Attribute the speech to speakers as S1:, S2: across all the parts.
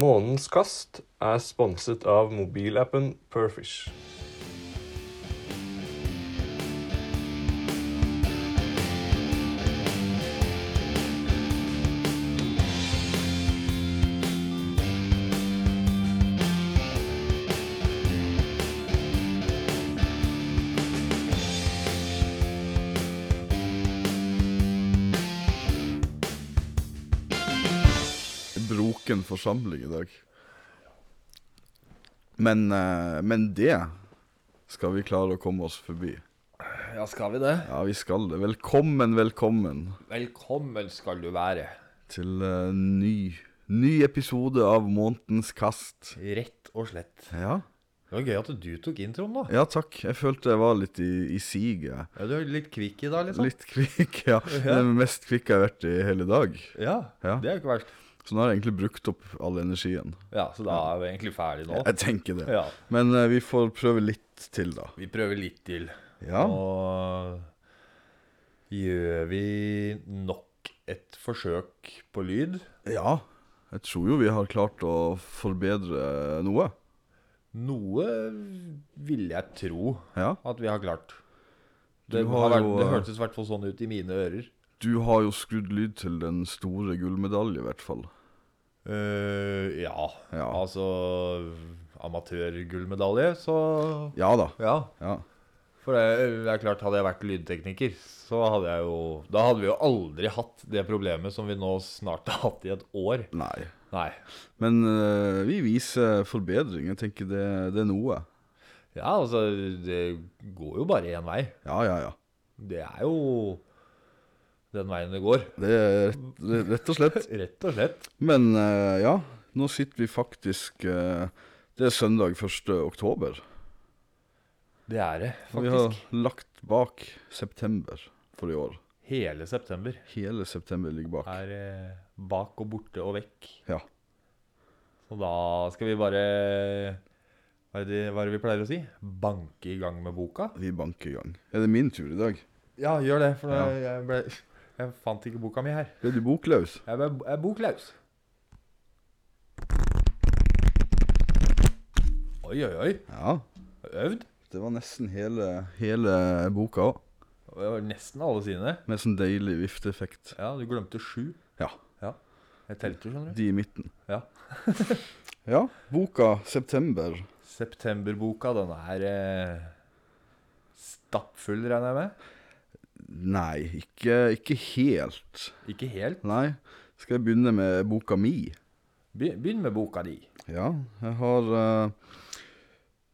S1: Månens kast er sponset av mobilappen Perfish.
S2: broken forsamling i dag. Men, eh, men det skal vi klare å komme oss forbi.
S3: Ja, skal vi det?
S2: Ja, vi skal det. Velkommen, velkommen
S3: Velkommen skal du være.
S2: til eh, ny, ny episode av Månedens kast.
S3: Rett og slett.
S2: Ja.
S3: Det var gøy at du tok introen, da.
S2: ja, takk. Jeg følte jeg var litt i, i siget.
S3: Ja, Du er litt kvikk i dag, liksom.
S2: Litt kvikk, ja. Det er den mest kvikk jeg har vært i hele dag.
S3: Ja,
S2: Ja.
S3: Det er jo ikke verst.
S2: Så nå har jeg egentlig brukt opp all energien.
S3: Ja, Så da er vi egentlig ferdig nå.
S2: Jeg tenker det.
S3: Ja.
S2: Men eh, vi får prøve litt til, da.
S3: Vi prøver litt til.
S2: Ja.
S3: Og gjør vi nok et forsøk på lyd?
S2: Ja, jeg tror jo vi har klart å forbedre noe.
S3: Noe vil jeg tro
S2: Ja.
S3: at vi har klart.
S2: Du
S3: Det,
S2: har
S3: har vært,
S2: jo,
S3: det
S2: eh,
S3: hørtes i hvert fall sånn ut i mine ører.
S2: Du har jo skrudd lyd til den store gullmedalje, i hvert fall.
S3: Eh, ja.
S2: Ja.
S3: Altså amatørgullmedalje, så
S2: Ja da.
S3: Ja.
S2: Ja.
S3: For det, det er klart, hadde jeg vært lydtekniker, så hadde jeg jo Da hadde vi jo aldri hatt det problemet som vi nå snart har hatt i et år.
S2: Nei.
S3: Nei.
S2: Men eh, vi viser forbedring. Jeg tenker det, det er noe.
S3: Ja, altså, det går jo bare én vei.
S2: Ja, ja, ja.
S3: Det er jo den veien det går.
S2: Det er rett, det- rett og slett.
S3: Rett og slett.
S2: Men eh, ja, nå sitter vi faktisk eh, Det er søndag 1. oktober.
S3: Det er det,
S2: Og Vi har
S3: faktisk.
S2: lagt bak september for i år.
S3: Hele september
S2: Hele september ligger bak.
S3: er eh, bak og borte og vekk.
S2: Ja.
S3: Så da skal vi bare hva er, det, hva er det vi pleier å si? Banke i gang med boka?
S2: Vi banker i gang. Er det min tur i dag?
S3: Ja, gjør det. For jeg, ble, jeg fant ikke boka mi her.
S2: Er du boklaus?
S3: Jeg, ble, jeg er boklaus. Oi, oi, oi.
S2: Ja.
S3: Øvd.
S2: Det var nesten hele, hele boka òg.
S3: Det var nesten alle sine.
S2: Med sånn deilig vifteeffekt.
S3: Ja, du glemte sju.
S2: Ja.
S3: Ja. Jeg telte, skjønner du.
S2: De i midten.
S3: Ja.
S2: Ja. Boka 'September'.
S3: Septemberboka, den er eh, stappfull, regner jeg med?
S2: Nei, ikke, ikke helt.
S3: Ikke helt.
S2: Nei. Skal jeg begynne med boka mi?
S3: Be- Begynn med boka di.
S2: Ja. Jeg har eh,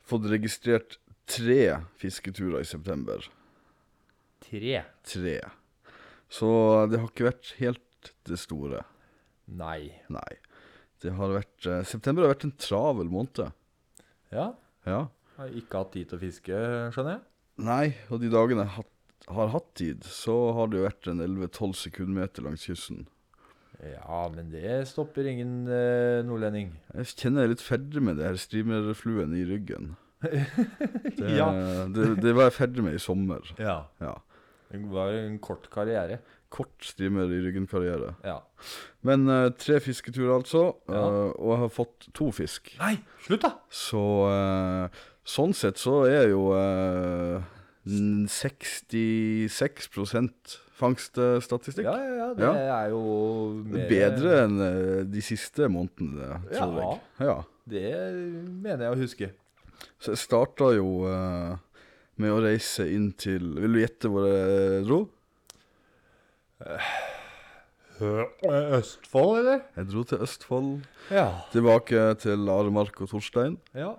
S2: fått registrert tre fisketurer i september.
S3: Tre.
S2: Tre. Så det har ikke vært helt det store.
S3: Nei.
S2: Nei. Det har vært eh, September har vært en travel måned.
S3: Ja,
S2: Ja.
S3: Har ikke hatt tid til å fiske, skjønner jeg.
S2: Nei, og de dagene jeg hatt, har hatt tid, så har det jo vært en 11-12 sekundmeter langs kysten.
S3: Ja, men det stopper ingen eh, nordlending.
S2: Jeg kjenner jeg er litt ferdig med det her streamerfluen i ryggen. Det, det, det var jeg ferdig med i sommer.
S3: ja.
S2: Ja.
S3: Det var en kort karriere.
S2: Kort streamer i ryggen-karriere.
S3: Ja.
S2: Men eh, tre fisketurer, altså.
S3: Ja.
S2: eh, og jeg har fått to fisk.
S3: Nei, slutt, da!
S2: Så eh, sånn sett så er jo eh, n- 66 fangststatistikk.
S3: Ja, ja, ja. Det er jo mer-
S2: Bedre enn eh, de siste månedene, tror
S3: Ja.
S2: jeg. Ja.
S3: Det mener jeg å huske.
S2: Så jeg starta jo eh, med å reise inn til Vil du gjette hvor jeg eh, dro?
S3: Østfold, eller?
S2: Jeg dro til Østfold.
S3: Ja.
S2: Tilbake til Aremark og Torstein.
S3: ja.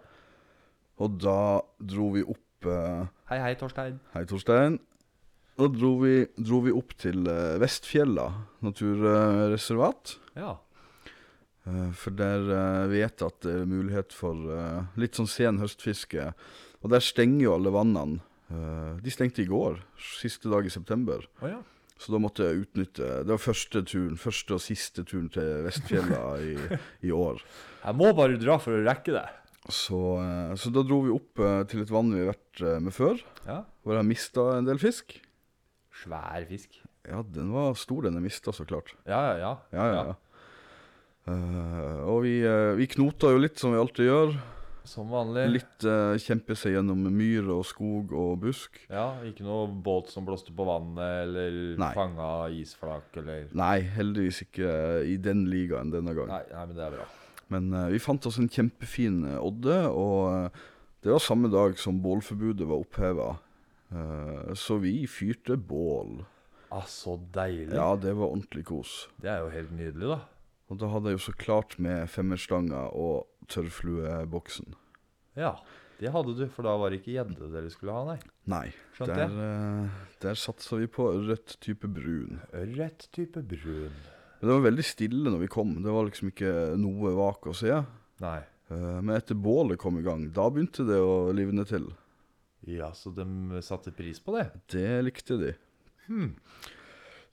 S2: Og da dro vi opp eh,
S3: Hei, hei, Torstein.
S2: Hei, Torstein. Da dro vi, dro vi opp til eh, Vestfjella naturreservat.
S3: Ja.
S2: Eh, For der eh, vet jeg at det er mulighet for eh, litt sånn sen høstfiske. Og der stenger jo alle vannene. Eh, De stengte i går, siste dag i september.
S3: Å ja.
S2: Så da måtte jeg utnytte Det var første turen, første og siste turen til Vestfjella i, i år.
S3: Jeg må bare dra for å rekke det.
S2: Så, eh, så da dro vi opp eh, til et vann vi har vært eh, med før,
S3: Ja.
S2: hvor jeg mista en del fisk.
S3: Svær fisk.
S2: Ja, den var stor, den jeg mista, så klart.
S3: Ja, ja, ja.
S2: Ja, ja, ja. Eh, og vi, eh, vi knoter jo litt, som vi alltid gjør.
S3: Som vanlig.
S2: Litt eh, kjempe seg gjennom myr og skog og busk.
S3: Ja, Ikke noe båt som blåste på vannet, eller
S2: Nei.
S3: fanga isflak, eller
S2: Nei, heldigvis ikke eh, i den ligaen denne gang.
S3: nei, nei, men det er bra.
S2: Men eh, vi fant oss en kjempefin eh, odde, og eh, det var samme dag som bålforbudet var oppheva. så vi fyrte bål.
S3: Ah, så deilig.
S2: Ja, det var ordentlig kos.
S3: Det er jo helt nydelig, da.
S2: Og da hadde jeg jo så klart med femmerstanga og tørrflueboksen.
S3: Ja, det hadde du, for da var det ikke gjedde dere skulle ha, nei.
S2: Nei,
S3: Skjønte
S2: der, eh, der satsa vi på rødt type brun.
S3: Ørret type brun.
S2: Men det var veldig stille når vi kom. Det var liksom ikke noe vak å se.
S3: Nei.
S2: Eh, Men etter bålet kom i gang, da begynte det å livne til.
S3: Ja, så de satte pris på det.
S2: Det likte de.
S3: Hmm.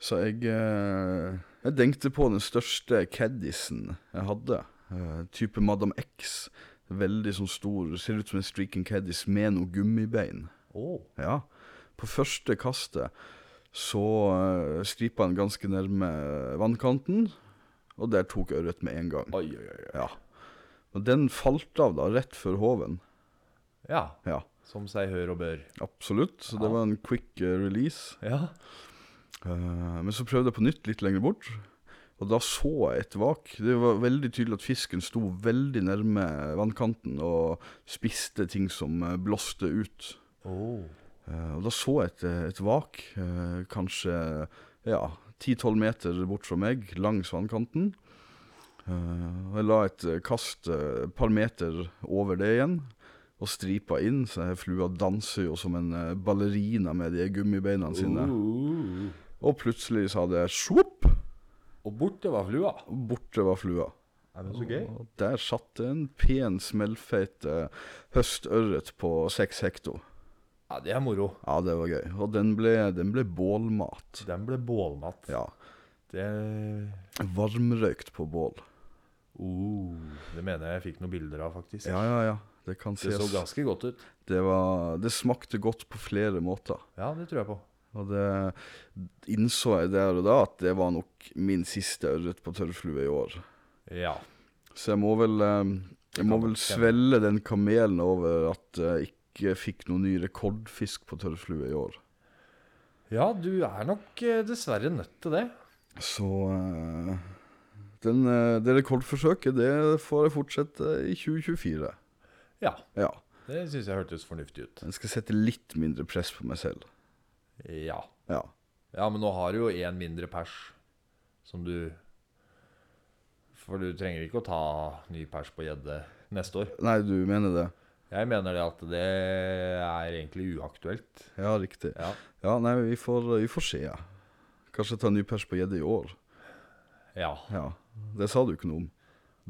S2: Så jeg, eh, jeg tenkte på den største caddisen jeg hadde. eh, Type Madam X. Veldig sånn stor, ser ut som en streaking caddis med noe gummibein.
S3: Å,
S2: Ja. På første kastet så uh, stripa han ganske nærme vannkanten, og der tok ørret med en gang.
S3: oi, oi, oi.
S2: Ja. Og den falt av da, rett før håven.
S3: Ja,
S2: Ja,
S3: som seg hør og bør.
S2: absolutt. Så det
S3: Ja.
S2: var en quick eh, release.
S3: Ja.
S2: Eh, Men så prøvde jeg på nytt litt lenger bort, og da så jeg et vak. Det var veldig tydelig at fisken sto veldig nærme vannkanten og spiste ting som eh, blåste ut.
S3: Å,
S2: Eh, Og da så jeg et, et vak, eh, kanskje ja, 10-12 meter bort fra meg, langs vannkanten. Eh, Og jeg la et eh, kast eh, et par meter over det igjen, og stripa inn, så jeg flua danser jo som en eh, ballerina med de gummibeina sine.
S3: Uh.
S2: Og plutselig sa det svopp,
S3: Og borte var flua.
S2: og borte var flua.
S3: Nei, men så gøy.
S2: Og der satt det en pen, smellfeit eh, høstørret på seks hekto.
S3: Ja, det er moro.
S2: Ja, det var gøy. Og den ble, den ble bålmat.
S3: Den ble bålmatt.
S2: Ja.
S3: Det
S2: Varmrøykt på bål.
S3: oh, Det mener jeg jeg fikk noen bilder av, faktisk.
S2: Ja, ja, ja. Det kan
S3: Det
S2: sies.
S3: så
S2: Det,
S3: ganske godt ut.
S2: var, det smakte godt på flere måter.
S3: Ja, det tror jeg på.
S2: Og det innså jeg der og da at det var nok min siste ørret på tørrflue i år.
S3: Ja.
S2: Så jeg må vel, eh, jeg må
S3: kan
S2: vel
S3: nok stemme.
S2: svelle den kamelen over at jeg ikke fikk noen ny rekordfisk på tørrflue i år.
S3: Ja, du er nok eh, dessverre nødt til det.
S2: Så eh, den, eh, det rekordforsøket, det får jeg fortsette i 2024.
S3: Ja.
S2: Ja.
S3: Det syns jeg hørtes fornuftig ut.
S2: Jeg skal sette litt mindre press på meg selv.
S3: Ja.
S2: Ja.
S3: Ja, men nå har du jo én mindre pers som du For du trenger ikke å ta ny pers på gjedde neste år.
S2: Nei, du mener det?
S3: Jeg mener det at det er egentlig uaktuelt.
S2: Ja, riktig.
S3: Ja,
S2: Ja, nei, vi får, vi får se. ja. Kanskje ta ny pers på gjedde i år.
S3: ja
S2: Ja. Det sa du ikke noe om.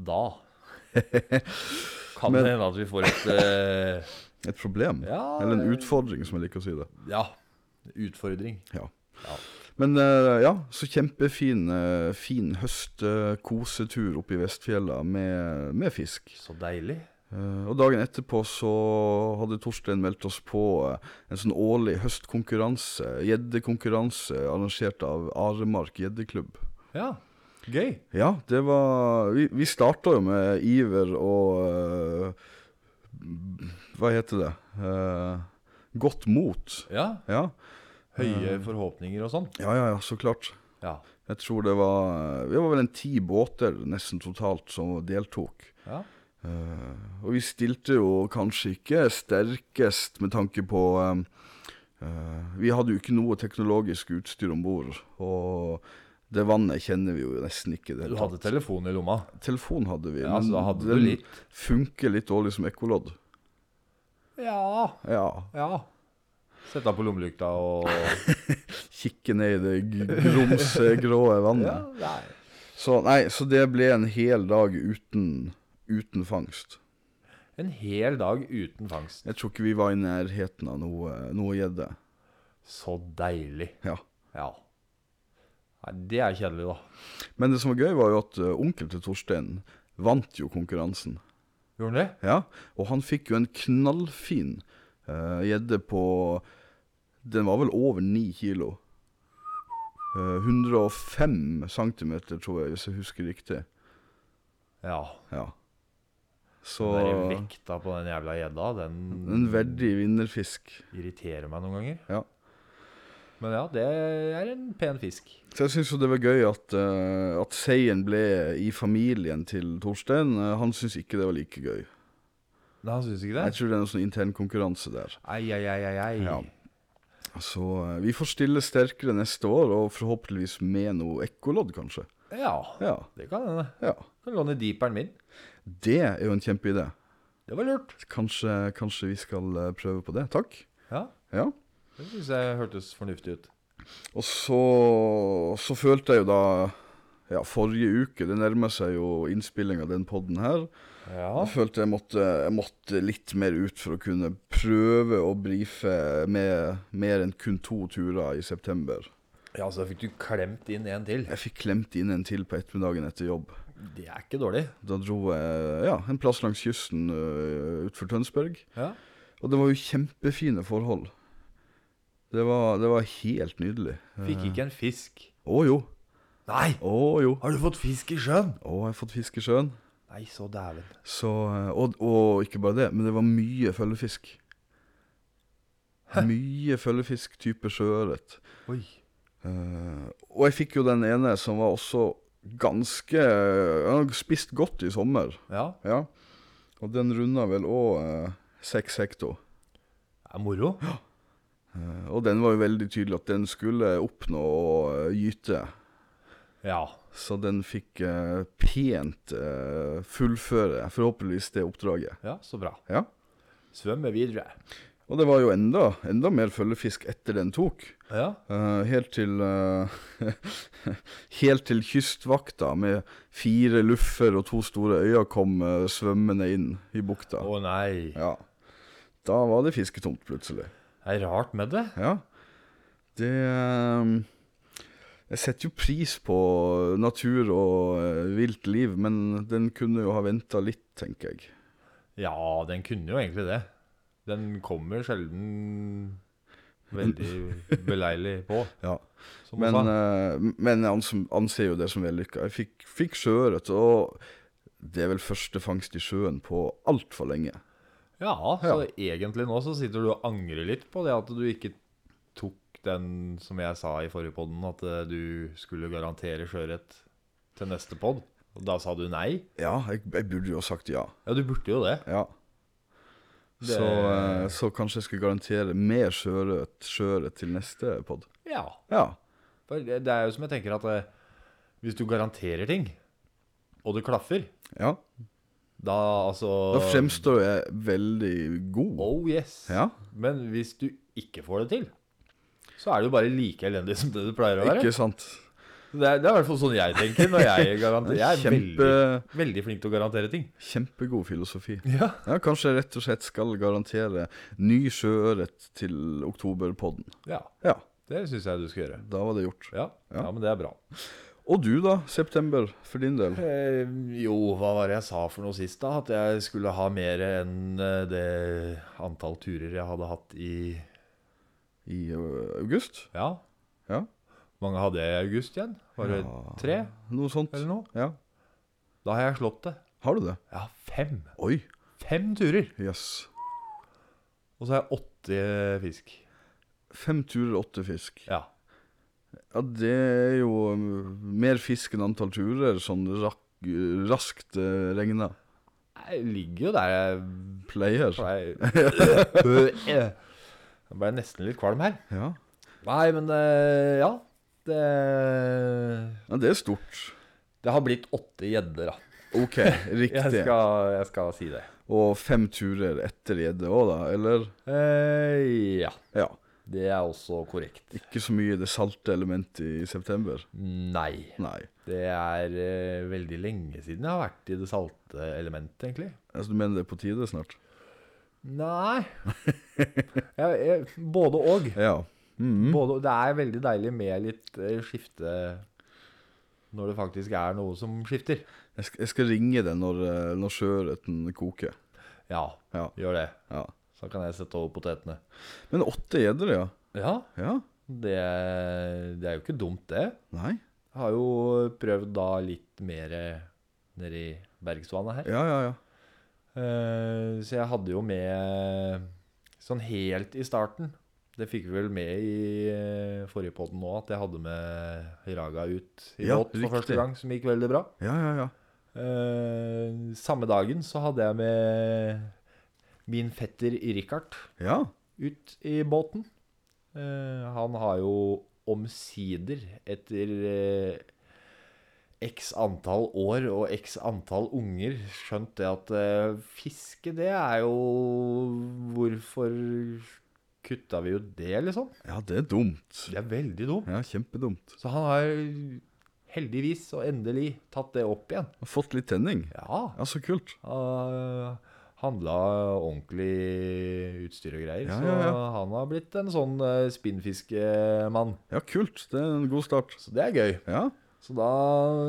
S3: da kan
S2: Men-
S3: det hende at vi får et eh,
S2: Et problem?
S3: Ja,
S2: Eller en
S3: det-
S2: utfordring, som jeg liker å si det.
S3: Ja, utfordring.
S2: Ja.
S3: Ja.
S2: Men eh, ja, så kjempefin eh, fin høstkosetur oppe i Vestfjella med, med fisk.
S3: Så deilig.
S2: Eh, og dagen etterpå så hadde Torstein meldt oss på eh, en sånn årlig høstkonkurranse, gjeddekonkurranse, arrangert av Aremark gjeddeklubb.
S3: Ja, gøy.
S2: Ja, det var Vi, vi starta jo med iver og eh, Hva heter det? Eh, godt mot.
S3: Ja,
S2: Ja.
S3: høye forhåpninger og sånn.
S2: ja, ja, ja, så klart.
S3: Ja.
S2: Jeg tror det var Vi var vel en ti båter nesten totalt som deltok.
S3: ja.
S2: Eh, og vi stilte jo kanskje ikke sterkest med tanke på eh, eh, Vi hadde jo ikke noe teknologisk utstyr om bord, og det vannet kjenner vi jo nesten ikke. i Det
S3: Du
S2: hele
S3: hadde
S2: tatt.
S3: telefon i lomma.
S2: Telefon hadde vi,
S3: Ja, så da hadde du
S2: den
S3: litt.
S2: funker litt dårlig som ekkolodd.
S3: Ja.
S2: Ja,
S3: ja. Sette av på lommelykta og
S2: kikke ned i det g- grumsegrå vannet.
S3: Ja, nei.
S2: Så nei, så det ble en hel dag uten, uten fangst.
S3: En hel dag uten fangst.
S2: Jeg tror ikke vi var i nærheten av noe noe gjedde.
S3: Så deilig.
S2: Ja.
S3: Ja. Nei, det er kjedelig, da.
S2: Men det som var gøy, var jo at eh, onkel til Torstein vant jo konkurransen.
S3: Gjorde han det?
S2: Ja, Og han fikk jo en knallfin eh, gjedde på Den var vel over ni kilo. Eh, 105 centimeter, tror jeg, hvis jeg husker riktig.
S3: Ja.
S2: Ja. Så
S3: Den der vekta på den jævla gjedda, den,
S2: en verdig vinnerfisk.
S3: irriterer meg noen ganger.
S2: Ja.
S3: Men ja, det er en pen fisk.
S2: Så jeg syns jo det var gøy at, uh, at seien ble i familien til Torstein. Eh, han syns ikke det var like gøy.
S3: Nei, han syns ikke
S2: Jeg
S3: det?
S2: tror det er noe sånn intern konkurranse der.
S3: Ai, ai, ai, ai, ai.
S2: Ja. Så eh, vi får stille sterkere neste år, og forhåpentligvis med noe ekkolodd, kanskje.
S3: Ja,
S2: Ja,
S3: det kan hende.
S2: ja.
S3: Du kan låne deeperen min.
S2: Det er jo en kjempeidé.
S3: Det var lurt.
S2: Kanskje, kanskje vi skal eh, prøve på det. Takk.
S3: Ja,
S2: Ja.
S3: det syns jeg hørtes fornuftig ut.
S2: Og så, så følte jeg jo da ja, Forrige uke, det nærmer seg jo innspilling av den podden her.
S3: Ja.
S2: Jeg følte jeg måtte, jeg måtte litt mer ut for å kunne prøve å brife med mer enn kun to turer i september.
S3: ja, så fikk du klemt inn en til.
S2: Jeg fikk klemt inn en til på ettermiddagen etter jobb.
S3: Det er ikke dårlig.
S2: Da dro jeg ja, en plass langs kysten øh, utfor Tønsberg.
S3: Ja.
S2: Og det var jo kjempefine forhold. Det var, det var helt nydelig.
S3: Fikk ikke en fisk.
S2: Å jo.
S3: Nei!
S2: Å jo.
S3: Har du fått fisk i sjøen?
S2: Å, jeg har fått fisk i sjøen.
S3: Nei, så dæven.
S2: Så, eh, og, og ikke bare det, men det var mye følgefisk. Mye følgefisk type sjøørret.
S3: Oi.
S2: Eh, og jeg fikk jo den ene som var også ganske Han har spist godt i sommer.
S3: Ja,
S2: Ja. Og den runda vel òg seks hekto.
S3: det er moro.
S2: Eh, og den var jo veldig tydelig at den skulle oppnå å eh, gyte.
S3: Ja.
S2: Så den fikk eh, pent eh, fullføre, forhåpentligvis, det oppdraget.
S3: ja, så bra.
S2: Ja.
S3: Svømme videre.
S2: Og det var jo enda, enda mer følgefisk etter den tok.
S3: Ja.
S2: Eh, helt til eh, Helt til kystvakta med fire luffer og to store øyer kom eh, svømmende inn i bukta.
S3: Å nei.
S2: Ja. Da var det fisketomt plutselig.
S3: Det er rart med det.
S2: Ja. Det eh, Jeg setter jo pris på natur og eh, vilt liv, men den kunne jo ha venta litt, tenker jeg.
S3: Ja, den kunne jo egentlig det. Den kommer sjelden veldig beleilig på.
S2: Ja.
S3: Som
S2: Men,
S3: men,
S2: eh, men jeg ans- anser jo det som vellykka. Jeg fikk, fikk sjøørret, og det er vel første fangst i sjøen på altfor lenge.
S3: ja, så egentlig nå så sitter du og angrer litt på det at du ikke tok den som jeg sa i forrige podden, at eh, du skulle garantere sjøørret til neste podd. Og da sa du nei.
S2: Ja, jeg, jeg burde jo ha sagt ja.
S3: Ja, du burde jo det.
S2: ja.
S3: Det-
S2: Så, eh, så kanskje jeg skal garantere mer sjøørret sjøørret til neste pod.
S3: Ja.
S2: Ja.
S3: For det det er jo som jeg tenker at eh, hvis du garanterer ting, og det klaffer,
S2: ja.
S3: da altså
S2: Da fremstår jeg veldig god.
S3: Oh yes.
S2: Ja.
S3: Men hvis du ikke får det til, så er det jo bare like elendig som det det pleier å være.
S2: Ikke sant?
S3: Det er, det er i hvert fall sånn jeg tenker når jeg garanterer. Jeg er
S2: Kjempe,
S3: veldig, veldig flink til å garantere ting.
S2: kjempegod filosofi.
S3: Ja.
S2: Ja, kanskje jeg rett og slett skal garantere ny sjøørret til oktoberpodden. Ja,
S3: det syns jeg du skal gjøre.
S2: da var det gjort.
S3: Ja. ja, men det er bra.
S2: Og du da, september, for din del?
S3: Eh, jo, hva var det jeg sa for noe sist, da? At jeg skulle ha mer enn eh, det antall turer jeg hadde hatt i
S2: I ø, august?
S3: Ja,
S2: Ja,
S3: mange hadde jeg i august igjen? Var det
S2: Ja.
S3: tre
S2: noe sånt.
S3: eller noe?
S2: Ja,
S3: Da har jeg slått det.
S2: Har du det?
S3: Ja, fem.
S2: Oi,
S3: Fem turer.
S2: jøss. Yes.
S3: Og så har jeg åtte fisk.
S2: Fem turer, åtte fisk.
S3: Ja.
S2: Ja, det er jo ø, mer fisk enn antall turer, sånn rak, raskt øh, ø, regna.
S3: Jeg ligger jo der jeg
S2: Pleier.
S3: pleier. Jeg ble nesten litt kvalm her.
S2: Ja.
S3: Nei, men eh, ja. Det,
S2: ja, det er stort.
S3: det har blitt åtte gjedder, da.
S2: OK,
S3: Jeg
S2: riktig.
S3: skal, jeg skal si det.
S2: Og fem turer etter gjedde òg, da? Eller?
S3: Eh, ja.
S2: Ja.
S3: Det er også korrekt.
S2: Ikke så mye det salte elementet i september?
S3: Nei.
S2: Nei.
S3: Det er eh, veldig lenge siden jeg har vært i det salte elementet, egentlig.
S2: Altså, du mener det er på tide snart?
S3: Nei jeg, jeg, Både og.
S2: Ja. Mhm.
S3: Både, det er veldig deilig med litt eh, skifte når det faktisk er noe som skifter.
S2: Jeg skal, jeg skal ringe deg når, eh, når sjøørreten koker.
S3: Ja,
S2: Ja,
S3: gjør det.
S2: ja.
S3: Så kan jeg sette over potetene.
S2: Men åtte gjedder, ja.
S3: Ja,
S2: Ja,
S3: det, det er jo ikke dumt, det.
S2: Nei.
S3: Jeg har jo prøvd da litt mer nedi Bergsvannet her.
S2: Ja, ja, ja.
S3: Eh, så jeg hadde jo med sånn helt i starten Det fikk vi vel med i eh, forrige podden nå, at jeg hadde med Hiraga ut i
S2: Ja,
S3: båt for
S2: riktig.
S3: første gang, som gikk veldig bra.
S2: Ja, ja, ja.
S3: Eh, samme dagen så hadde jeg med min fetter Richard
S2: Ja,
S3: ut i båten. Eh, han har jo omsider, etter eh, x antall år og x antall unger, skjønt det at eh, fiske, det er jo Hvorfor kutta vi ut det, liksom?
S2: ja det er dumt.
S3: Det er veldig dumt.
S2: Ja, kjempedumt.
S3: Så han har heldigvis og endelig tatt det opp igjen.
S2: Har fått litt tenning.
S3: Ja.
S2: Ja, så kult.
S3: Uh, handla ordentlig utstyr og greier.
S2: Ja, ja,
S3: Så
S2: ja.
S3: han har blitt en sånn eh, spinnfiskemann.
S2: Ja, kult. Det er en god start.
S3: Så det er gøy.
S2: Ja,
S3: Så da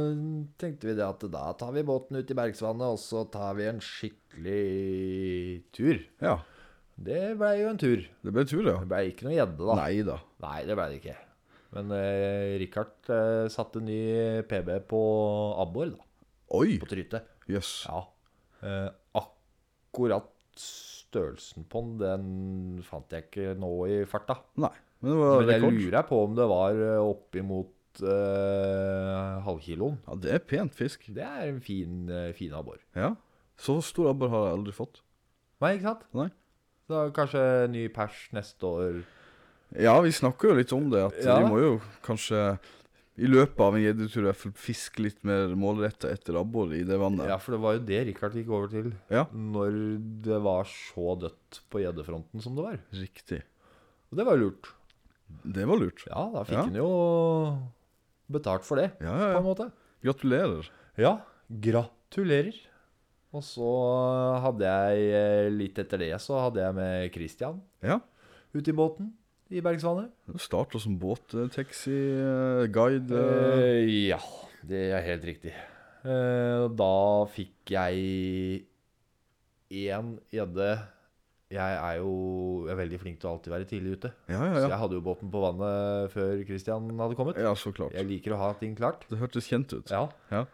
S3: eh, tenkte vi det at da tar vi båten ut i Bergsvannet, og så tar vi en skikkelig tur.
S2: ja.
S3: Det blei jo en tur.
S2: Det ble tur, ja.
S3: Det blei ikke noe gjedde, da.
S2: Nei da.
S3: Nei, det blei det ikke. Men eh, Richard eh, satte ny PB på abbor, da.
S2: Oi,
S3: På trytet.
S2: jøss.
S3: Ja. Eh, akkurat størrelsen på den, den fant jeg ikke nå i farta.
S2: Nei, men det var
S3: Men jeg
S2: rekord.
S3: lurer på om det var eh, oppimot eh, halvkiloen.
S2: Ja, det er pent fisk.
S3: Det er en fin, eh, fin abbor.
S2: Ja. Så stor abbor har jeg aldri fått.
S3: Nei, ikke sant?
S2: Nei.
S3: Da kanskje ny pers neste år.
S2: Ja, vi snakker jo litt om det, at
S3: Ja.
S2: vi må jo kanskje i løpet av en gjeddetur i hvert fall fiske litt mer målretta etter abbor i det vannet.
S3: Ja, for det var jo det Richard gikk over til
S2: Ja.
S3: når det var så dødt på gjeddefronten som det var.
S2: Riktig.
S3: Og det var jo lurt.
S2: Det var lurt.
S3: Ja, da fikk
S2: Ja.
S3: han jo betalt for det,
S2: Ja, ja,
S3: på
S2: ja.
S3: en måte.
S2: Gratulerer.
S3: Ja, gratulerer. Og så hadde jeg eh, litt etter det så hadde jeg med Christian
S2: Ja.
S3: ute i båten i Bergsvannet.
S2: Starta som båttaxi, eh, guide eh.
S3: Eh, ja, det er helt riktig. Eh, og da fikk jeg én gjedde. Jeg er jo jeg er veldig flink til å alltid være tidlig ute.
S2: Ja, ja,
S3: Så
S2: ja.
S3: jeg hadde jo båten på vannet før Christian hadde kommet.
S2: Ja, så klart.
S3: Jeg liker å ha ting klart.
S2: Det hørtes kjent ut.
S3: Ja.
S2: Ja.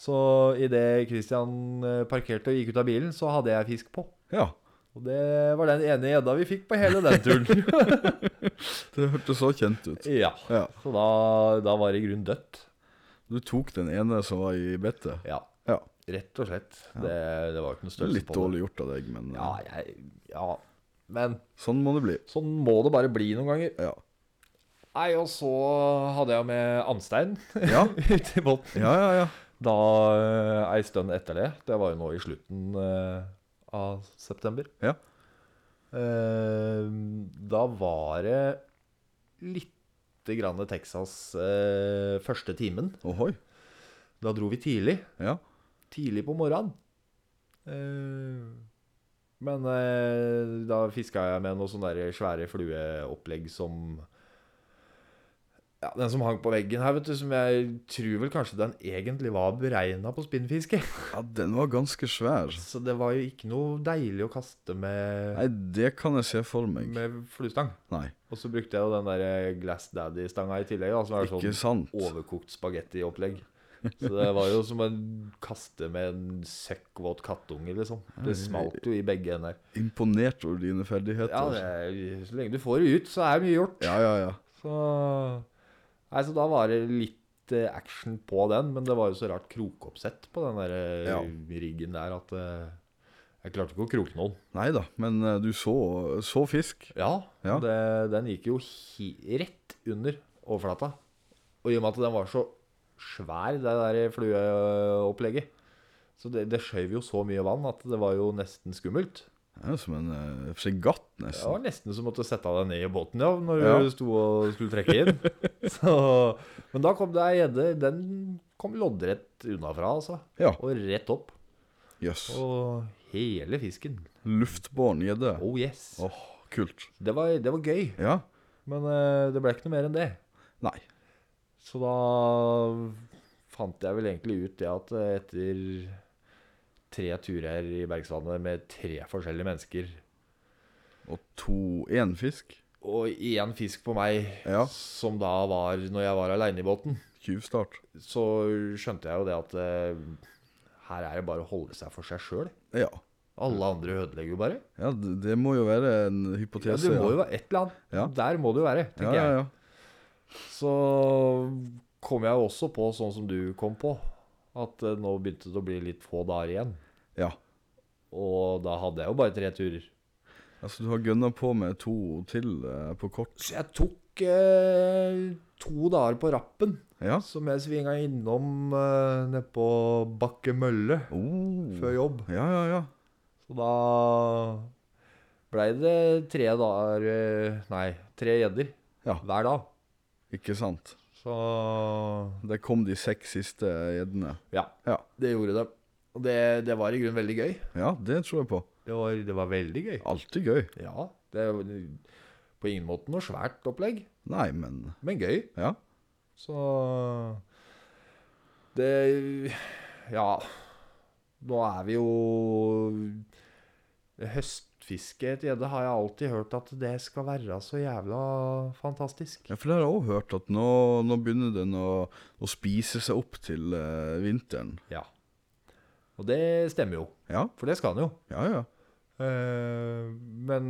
S3: Så idet Christian eh, parkerte og gikk ut av bilen, så hadde jeg fisk på.
S2: Ja.
S3: Og det var den ene gjedda vi fikk på hele den turen.
S2: Det hørtes så kjent ut.
S3: ja.
S2: Ja.
S3: Så da, da var det i grunnen dødt.
S2: Du tok den ene som var i bettet.
S3: Ja,
S2: Ja.
S3: rett og slett. Det, det var ikke
S2: Det
S3: noe
S2: er
S3: størrelse
S2: litt
S3: på det.
S2: dårlig gjort av deg, men eh,
S3: Ja, jeg, ja, men
S2: sånn må det bli.
S3: sånn må det bare bli noen ganger.
S2: Ja.
S3: Nei, og så hadde jeg med Amstein
S2: Ja,
S3: ute i båten.
S2: ja, ja. ja.
S3: Da eh, ei stund etter det, det var jo nå i slutten eh, av september,
S2: ja.
S3: eh, da var det lite grann Texas eh, første timen.
S2: Ohoi.
S3: Da dro vi tidlig.
S2: Ja.
S3: Tidlig på morgenen. Eh, men eh, da fiska jeg med noen sånne der svære flueopplegg som ja, Den som hang på veggen her, vet du, som jeg tror vel kanskje den egentlig var beregna på spinnfiske.
S2: ja, den var ganske svær.
S3: Så det var jo ikke noe deilig å kaste med,
S2: Nei, det kan jeg se for meg.
S3: med fluestang.
S2: Nei,
S3: Og så brukte jeg jo den der eh, Glass Daddy-stanga i tillegg, da, som er
S2: ikke
S3: sånn
S2: sant.
S3: overkokt spagetti-opplegg. Så det var jo som å kaste med en søkkvåt kattunge, liksom. Det smalt jo i begge ender.
S2: Imponert over dine ferdigheter. altså.
S3: Ja, det er, så lenge du får det ut, så er det mye gjort.
S2: ja, ja, ja.
S3: Så, nei, så da var det litt eh, action på den, men det var jo så rart krokoppsett på den der eh,
S2: Ja.
S3: riggen der at eh, jeg klarte ikke å kroke noen.
S2: Nei da, men eh, du så, så fisk.
S3: Ja,
S2: Ja.
S3: Det, den gikk jo hi rett under overflata. Og i og med at den var så svær, det der flueopplegget Så det, det skjøv jo så mye vann at det var jo nesten skummelt.
S2: Det er som en eh, fregatt,
S3: Det
S2: nesten.
S3: var nesten som å måtte sette deg ned i båten ja, når
S2: Ja.
S3: du sto og skulle trekke inn. Så, men da kom det ei gjedde. Den kom loddrett unnafra, altså.
S2: Ja,
S3: Og rett opp.
S2: jøss.
S3: Og hele fisken.
S2: Luftbåren gjedde. Åh,
S3: Oh yes.
S2: kult.
S3: Det var, det var gøy,
S2: Ja.
S3: men eh, det ble ikke noe mer enn det.
S2: Nei.
S3: Så da fant jeg vel egentlig ut det at eh, etter tre turer i Bergsvannet med tre forskjellige mennesker
S2: Og to én fisk.
S3: og én fisk på meg,
S2: Ja.
S3: som da var når jeg var aleine i båten,
S2: Tjuvstart.
S3: så skjønte jeg jo det at eh, her er det bare å holde seg for seg sjøl.
S2: Ja.
S3: Alle andre ødelegger jo bare.
S2: ja, det det må jo være en
S3: Ja,
S2: hypotese.
S3: det må jo være et eller annet.
S2: Ja.
S3: Der må det jo være,
S2: ja,
S3: tenker
S2: ja,
S3: jeg.
S2: ja.
S3: Så kom jeg jo også på, sånn som du kom på, at eh, nå begynte det å bli litt få dager igjen.
S2: ja.
S3: Og da hadde jeg jo bare tre turer.
S2: Altså, du har gønna på med to til eh, på kort.
S3: Så jeg tok eh, to dager på rappen,
S2: Ja.
S3: som jeg svinga innom eh, nede på Bakke Mølle
S2: Oh.
S3: før jobb.
S2: Ja, ja, ja.
S3: Så da blei det tre dager eh, Nei, tre gjedder
S2: Ja.
S3: hver dag.
S2: Ikke sant.
S3: Så
S2: Der kom de seks siste gjeddene.
S3: ja,
S2: Ja.
S3: det gjorde det. Og det, det var i grunnen veldig gøy.
S2: ja, det tror jeg på.
S3: Det var, det var veldig gøy.
S2: Alltid gøy.
S3: Ja, det er jo på ingen måte noe svært opplegg,
S2: Nei, men
S3: men gøy.
S2: Ja.
S3: Så det Ja. Nå er vi jo Høstfiske etter gjedde har jeg alltid hørt at det skal være så jævla fantastisk.
S2: ja for det har jeg òg hørt, at nå, nå begynner den å, å spise seg opp til eh, vinteren.
S3: Ja. Og det stemmer jo,
S2: Ja,
S3: for det skal den jo.
S2: ja, ja.
S3: Eh, men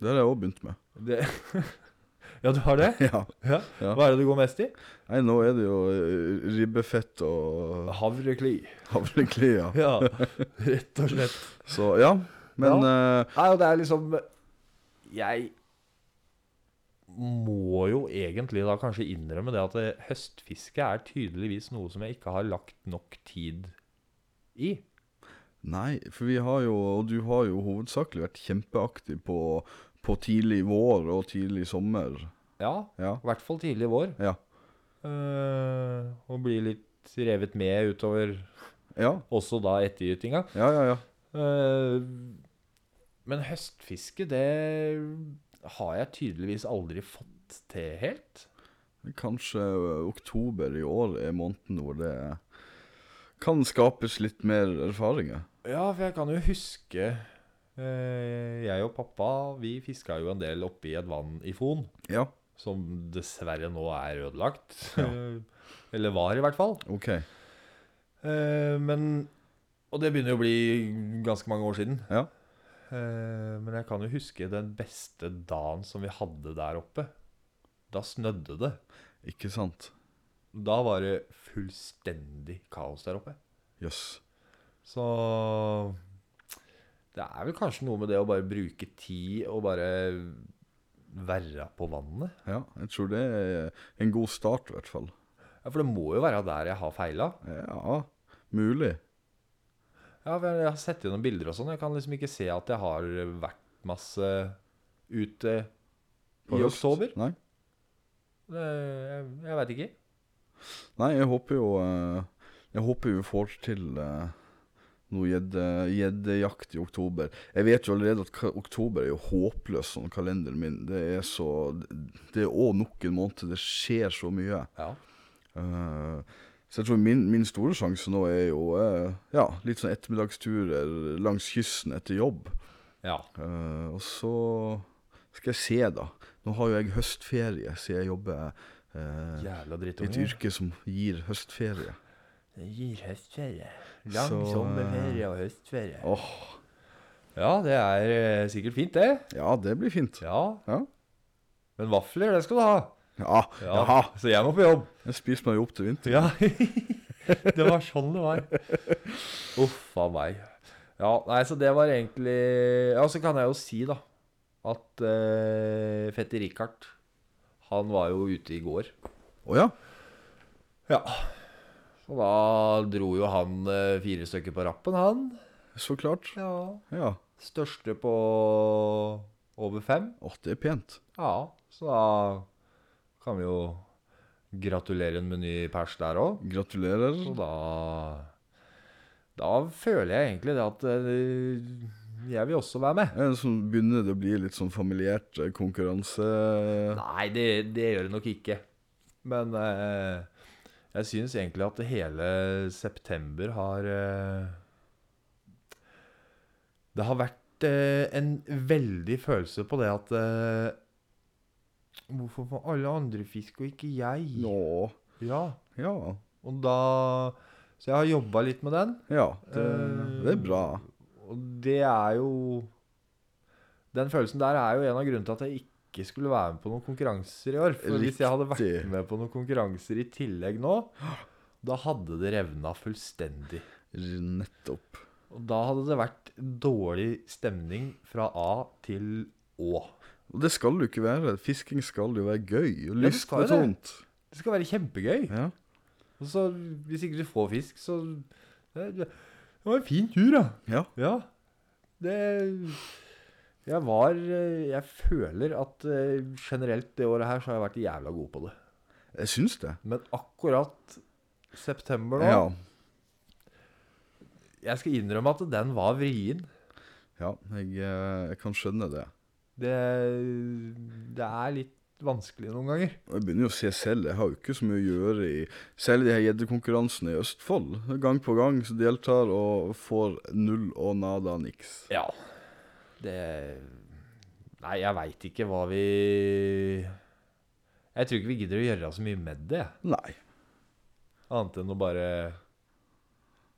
S2: Det har jeg òg begynt med.
S3: det Ja, du har det?
S2: Ja.
S3: Ja.
S2: Ja.
S3: Hva er det du går mest i?
S2: Nei, nå er det jo eh, ribbefett og
S3: Havrekli.
S2: havreklia.
S3: Ja, rett og slett.
S2: Så ja. Men eh,
S3: Nei, og det er liksom Jeg må jo egentlig da kanskje innrømme det at det- høstfiske er tydeligvis noe som jeg ikke har lagt nok tid i.
S2: Nei, for vi har jo, og du har jo hovedsakelig vært kjempeaktiv på, på tidlig vår og tidlig sommer.
S3: Ja,
S2: Ja.
S3: i hvert fall tidlig vår.
S2: Ja.
S3: eh, og bli litt revet med utover
S2: Ja,
S3: også da ettergytinga.
S2: ja, ja. ja.
S3: Eh, men høstfiske, det har jeg tydeligvis aldri fått til helt.
S2: Kanskje ø, oktober i år er måneden hvor det kan skapes litt mer erfaringer.
S3: Ja, for jeg kan jo huske eh, Jeg og pappa, vi fiska jo en del oppi et vann i Fon,
S2: Ja,
S3: som dessverre nå er ødelagt.
S2: Ja.
S3: Eller var, i hvert fall.
S2: OK.
S3: Eh, men Og det begynner jo å bli ganske mange år siden.
S2: Ja.
S3: Eh, men jeg kan jo huske den beste dagen som vi hadde der oppe. Da snødde det.
S2: Ikke sant?
S3: Da var det fullstendig kaos der oppe.
S2: Jøss.
S3: Så det er vel kanskje noe med det å bare bruke tid og bare være på vannet.
S2: Ja, jeg tror det er en god start, i hvert fall.
S3: Ja, For det må jo være der jeg har feila.
S2: Ja, mulig.
S3: Ja, for jeg har sett gjennom bilder og sånn. Jeg kan liksom ikke se at jeg har vært masse ute
S2: På
S3: i
S2: høst.
S3: oktober.
S2: Nei.
S3: Det, jeg jeg veit ikke.
S2: Nei, jeg håper jo ø, Jeg håper vi får til ø, noe gjedde- gjeddejakt i oktober. Jeg vet jo allerede at ka- oktober er jo håpløs sånn kalenderen min. Det er så Det er òg nok en måned. Det skjer så mye.
S3: Ja.
S2: Eh, så jeg tror min, min store sjanse nå er jo eh, ja, litt sånn ettermiddagsturer langs kysten etter jobb.
S3: ja.
S2: Eh, og så skal jeg se, da. Nå har jo jeg høstferie, så jeg jobber eh, i
S3: Jævla
S2: et
S3: drittunge.
S2: yrke som gir høstferie.
S3: Det gir høstferie.
S2: Lang Så, eh, sommerferie
S3: og høstferie.
S2: Åh,
S3: Ja, det er eh, sikkert fint, det.
S2: ja, det blir fint.
S3: Ja.
S2: Ja.
S3: Men vafler, det skal du ha.
S2: Ja,
S3: Ja.
S2: jaha.
S3: Så jeg må på jobb.
S2: Jeg spiser meg jo opp til vinter.
S3: Ja, det var sånn det var. Uff a meg. Ja, nei, så det var egentlig Ja, så kan jeg jo si, da, at eh, Fette Richard, han var jo ute i går.
S2: Å ja.
S3: Ja. Så da dro jo han eh, fire stykker på rappen, han.
S2: Så klart.
S3: Ja.
S2: Ja.
S3: Største på over fem.
S2: Åh, det er pent.
S3: Ja, så da kan vi jo gratulere en med ny pers der òg.
S2: Gratulerer.
S3: Så da Da føler jeg egentlig det at eh, jeg vil også være med.
S2: Eh, Så begynner det å bli litt sånn familiært eh, konkurranse...
S3: Nei, det, det gjør det nok ikke. Men eh, jeg syns egentlig at hele september har eh, Det har vært eh, en veldig følelse på det at eh, Hvorfor får alle andre fisk og ikke jeg?
S2: Nå.
S3: Ja.
S2: Ja.
S3: Og da Så jeg har jobba litt med den.
S2: Ja, det,
S3: Eh,
S2: det er bra.
S3: Og det er jo Den følelsen der er jo en av grunnene til at jeg ikke skulle være med på noen konkurranser i år. For hvis jeg hadde vært
S2: Riktig.
S3: med på noen konkurranser i tillegg nå, da hadde det revna fullstendig.
S2: Nettopp.
S3: Og da hadde det vært dårlig stemning fra A til Å.
S2: Og det skal det jo ikke være. Fisking skal jo være gøy og
S3: Ja, det skal jo det.
S2: lystbetont.
S3: Det skal være kjempegøy.
S2: Ja.
S3: Og så hvis ikke du får fisk, så Det det var en fin tur, da.
S2: ja.
S3: Ja. Det Jeg var eh, Jeg føler at eh, generelt det året her så har jeg vært jævla god på det.
S2: Jeg syns det.
S3: Men akkurat september nå
S2: Ja.
S3: Jeg skal innrømme at den var vrien.
S2: ja jeg, eh, jeg kan skjønne det.
S3: Det, det er litt vanskelig noen ganger.
S2: Og Jeg begynner jo å se selv, jeg har jo ikke så mye å gjøre i Særlig de her gjeddekonkurransene i Østfold. Gang på gang så deltar og får null og nada niks.
S3: Ja. Det Nei, jeg veit ikke hva vi Jeg tror ikke vi gidder å gjøre så mye med det.
S2: Nei.
S3: Annet enn å bare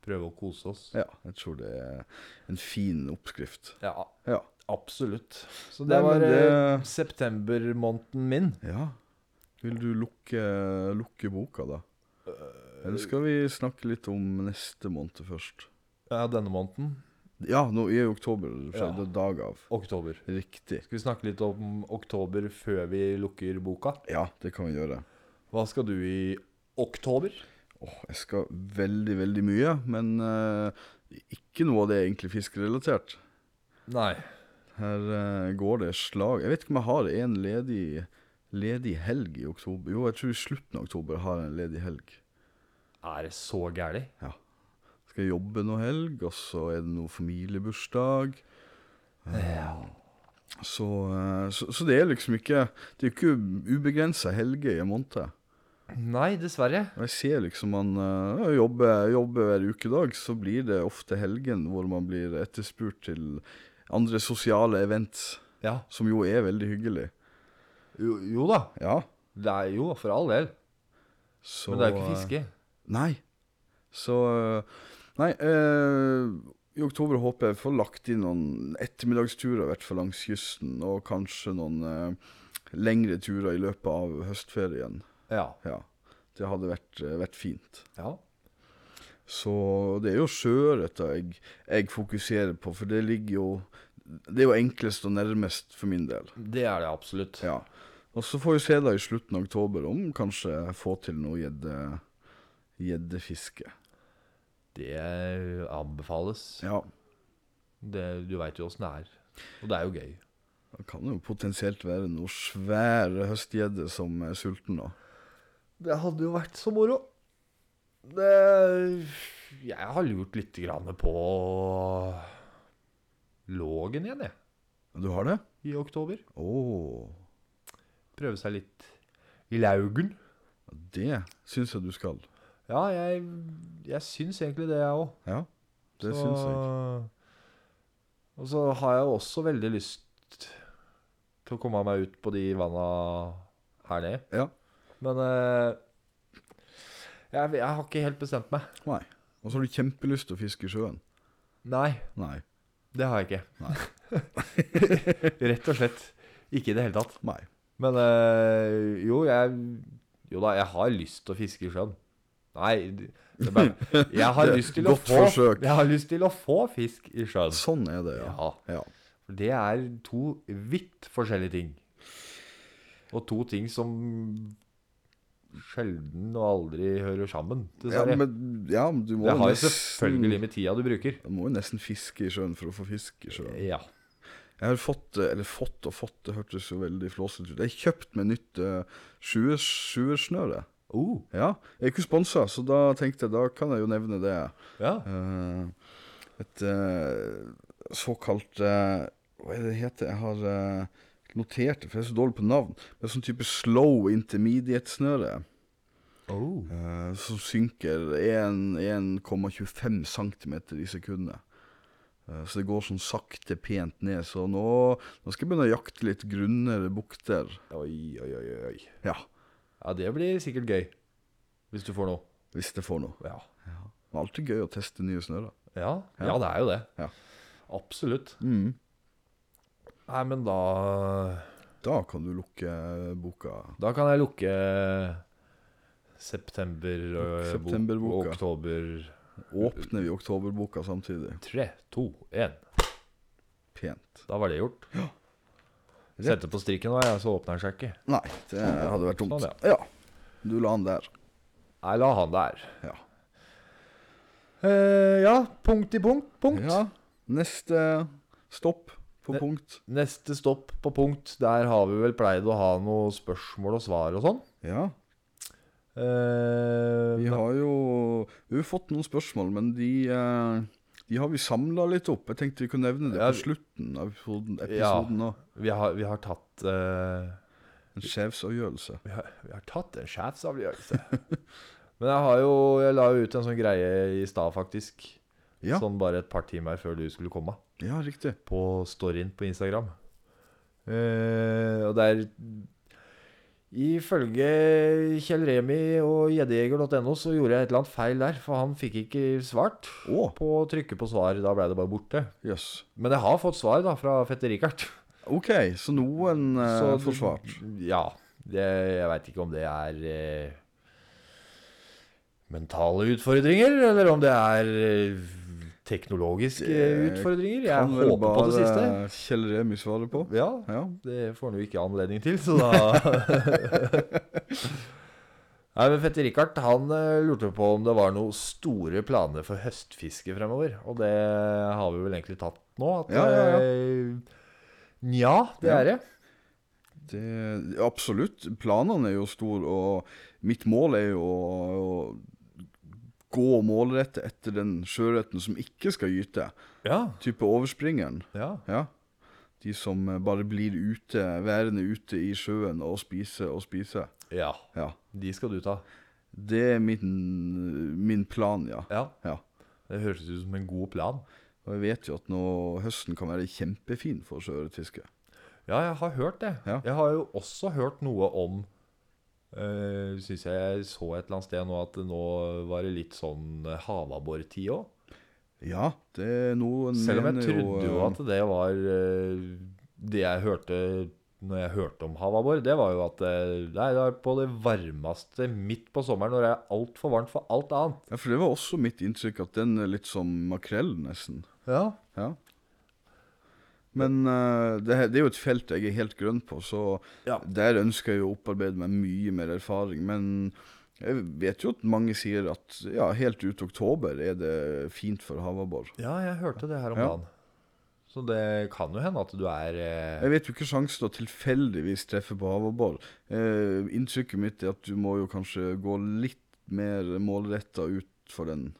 S3: prøve å kose oss.
S2: Ja, jeg tror det er en fin oppskrift.
S3: Ja,
S2: Ja.
S3: absolutt. Så
S2: Nei,
S3: det var
S2: men
S3: eh,
S2: det-
S3: septembermåneden min.
S2: ja. Vil du lukke, lukke boka, da? Eller skal vi snakke litt om neste måned først?
S3: Ja, denne måneden.
S2: Ja, nå i oktober, fra
S3: Ja.
S2: det er dag av.
S3: Oktober.
S2: Riktig.
S3: Skal vi snakke litt om oktober før vi lukker boka?
S2: Ja, det kan vi gjøre.
S3: Hva skal du i oktober?
S2: Åh, jeg skal veldig, veldig mye, men eh, ikke noe av det er egentlig fiskerelatert.
S3: Nei.
S2: Her eh, går det slag Jeg vet ikke om jeg har en ledig, ledig helg i oktober. Jo, jeg tror i slutten av oktober har jeg en ledig helg.
S3: Er det så gærlig?
S2: Skal jeg jobbe noe helg, og så er det noe familiebursdag.
S3: Ja.
S2: Så, eh, så, så det er liksom ikke Det er jo ikke ubegrensa helger i en måned.
S3: Nei, dessverre.
S2: Og jeg ser liksom man eh, jobber, jobber hver ukedag, så blir det ofte helgen hvor man blir etterspurt til andre sosiale event,
S3: Ja.
S2: som jo er veldig hyggelig.
S3: Jo, jo da.
S2: Ja.
S3: Det er jo for all del.
S2: Så,
S3: Men det er jo
S2: eh,
S3: ikke fiske.
S2: Nei. Så eh, Nei. eh, I oktober håper jeg får lagt inn noen ettermiddagsturer, i hvert fall langs kysten, og kanskje noen eh, lengre turer i løpet av høstferien.
S3: Ja.
S2: Ja. Det hadde vært, eh, vært fint.
S3: ja.
S2: Så det er jo sjøørreta jeg, jeg fokuserer på, for det ligger jo Det er jo enklest og nærmest for min del.
S3: Det er det absolutt.
S2: Ja. Og så får vi se da i slutten av oktober om kanskje jeg får til noe gjedde- gjeddefiske.
S3: Det anbefales.
S2: Ja.
S3: Det, du veit jo åssen det er. Og det er jo gøy.
S2: Det kan jo potensielt være noe svære høstgjedde som er sulten, da.
S3: Det hadde jo vært så moro. Det Jeg har lurt litt grann på Lågen igjen, jeg.
S2: Du har det?
S3: I oktober.
S2: Å,
S3: Prøve seg litt i laugen.
S2: det syns jeg du skal.
S3: Ja, jeg, jeg syns egentlig det, jeg òg.
S2: Ja, det syns jeg.
S3: Og så har jeg også veldig lyst til å komme meg ut på de vanna her nede.
S2: Ja.
S3: Men eh, jeg, jeg har ikke helt bestemt meg.
S2: Nei. Og så har du kjempelyst til å fiske i sjøen.
S3: Nei.
S2: Nei.
S3: Det har jeg ikke.
S2: Nei.
S3: Rett og slett ikke i det hele tatt.
S2: Nei.
S3: Men øh, jo, jeg Jo da, jeg har lyst til å fiske i sjøen. Nei det er bare, Jeg har
S2: Det er
S3: lyst til å
S2: godt
S3: få
S2: forsøk.
S3: Jeg har lyst til å få fisk i sjøen.
S2: Sånn er det, ja.
S3: Ja.
S2: Ja.
S3: For det er to vidt forskjellige ting. Og to ting som sjelden og aldri hører sammen,
S2: Ja,
S3: dessverre.
S2: men, ja, men du må
S3: det
S2: jo
S3: har jo
S2: nesten-
S3: selvfølgelig med tida du bruker.
S2: Du må jo nesten fiske i sjøen for å få fisk i sjøen.
S3: Ja.
S2: Jeg har fått, eh, eller fått og fått, det hørtes jo veldig flåsete ut. Jeg har kjøpt meg nytt eh, sjuers- sjuersnøre.
S3: Oh,
S2: Ja, jeg er ikke sponsa, så da tenkte jeg da kan jeg jo nevne det.
S3: ja.
S2: Eh, et eh, såkalt eh, Hva er det det heter? Jeg har eh, notert det, for jeg er så dårlig på navn. Det er sånn type slow intermediate-snøre.
S3: Oh.
S2: Eh, som synker 1 1,25 cm i sekundet. Eh, Så det går sånn sakte, pent ned. Så nå, nå skal jeg begynne å jakte litt grunnere bukter.
S3: Oi, oi, oi, oi.
S2: Ja,
S3: Ja, det blir sikkert gøy. Hvis du får noe.
S2: hvis jeg får noe.
S3: Ja.
S2: Det er alltid gøy å teste nye snører.
S3: Ja, ja det er jo det.
S2: Ja.
S3: Absolutt.
S2: Mm.
S3: Nei, men da
S2: Da kan du lukke boka.
S3: Da kan jeg lukke september og,
S2: Septemberboka.
S3: og oktober
S2: Åpner vi oktoberboka samtidig?
S3: Tre, to, én.
S2: Pent.
S3: Da var det gjort.
S2: Rett.
S3: Sette på strikken, da, jeg, så åpner den seg ikke.
S2: Nei, det hadde vært dumt.
S3: Sånn,
S2: Ja. Du la han der.
S3: Nei, la han der.
S2: Ja.
S3: Eh, ja, punkt i punkt. Punkt.
S2: ja. Neste stopp på
S3: Ne-
S2: punkt.
S3: Neste stopp på punkt. Der har vi vel pleid å ha noen spørsmål og svar og sånn.
S2: Ja.
S3: Eh,
S2: Vi har jo vi har fått noen spørsmål, men de, eh, de har vi samla litt opp. Jeg tenkte vi kunne nevne det
S3: Ja,
S2: på slutten av episoden,
S3: Ja.
S2: episoden òg.
S3: vi, har, vi har tatt eh,
S2: En skjevsavgjørelse.
S3: vi, har, vi har tatt en sjefsavgjørelse. Men jeg har jo Jeg la jo ut en sånn greie i stad, faktisk.
S2: Ja.
S3: Sånn bare et par timer før du skulle komme.
S2: Ja, riktig.
S3: på storyen på Instagram. Eh, og der Ifølge Kjell Remi og gjeddejeger.no så gjorde jeg et eller annet feil der, for han fikk ikke svart
S2: Å,
S3: på å trykke på svar. Da ble det bare borte.
S2: jøss.
S3: Men jeg har fått svar da fra Fette Rikard.
S2: OK, så noen uh,
S3: Så du-
S2: får svart.
S3: Ja. Det, jeg veit ikke om det er eh, mentale utfordringer, eller om det er eh, teknologiske
S2: Det
S3: utfordringer.
S2: Kan
S3: Jeg
S2: vel
S3: håper på det siste.
S2: bare Kjell Remi svare på.
S3: Ja,
S2: Ja.
S3: Det får han jo ikke anledning til, så da Nei, men Fette Rikard han eh, lurte på om det var noen store planer for høstfiske fremover. Og det har vi vel egentlig tatt nå. At,
S2: Ja, ja, ja.
S3: eh, Nja, det
S2: Ja.
S3: er det.
S2: Det, absolutt. Planene er jo store, og mitt mål er jo å, å gå og målrette etter den sjøørreten som ikke skal gyte.
S3: Ja,
S2: Type overspringeren.
S3: ja.
S2: Ja. De som eh, bare blir ute, værende ute i sjøen og spise og spise.
S3: Ja,
S2: Ja.
S3: de skal du ta.
S2: Det er min, min plan, ja.
S3: Ja,
S2: ja.
S3: Det høres ut som en god plan.
S2: Og jeg vet jo at nå, høsten kan være kjempefin for sjøørretfiske.
S3: Ja, jeg har hørt det.
S2: Ja.
S3: Jeg har jo også hørt noe om uh, Syns jeg jeg så et eller annet sted nå at det nå var det litt sånn eh, havabbortid òg.
S2: Ja, det er noen
S3: Selv om jeg
S2: mener
S3: trodde jo
S2: eh,
S3: at det var eh, Det jeg hørte når jeg hørte om havabbor, det var jo at eh, Nei, det er på det varmeste midt på sommeren når det er altfor varmt for alt annet.
S2: Ja, for det var også mitt inntrykk at den er litt som makrell, nesten.
S3: Ja.
S2: Ja. Men eh, det, her- det er jo et felt jeg er helt grønn på, så
S3: Ja.
S2: der ønsker jeg jo å opparbeide meg mye mer erfaring. Men jeg vet jo at mange sier at ja, helt ut oktober er det fint for havabbor.
S3: jeg hørte det her om
S2: Ja.
S3: dagen. Så det kan jo hende at du er eh,
S2: Jeg vet jo ikke sjansen å tilfeldigvis treffe på havabbor. Eh, inntrykket mitt er at du må jo kanskje gå litt mer målretta ut for den.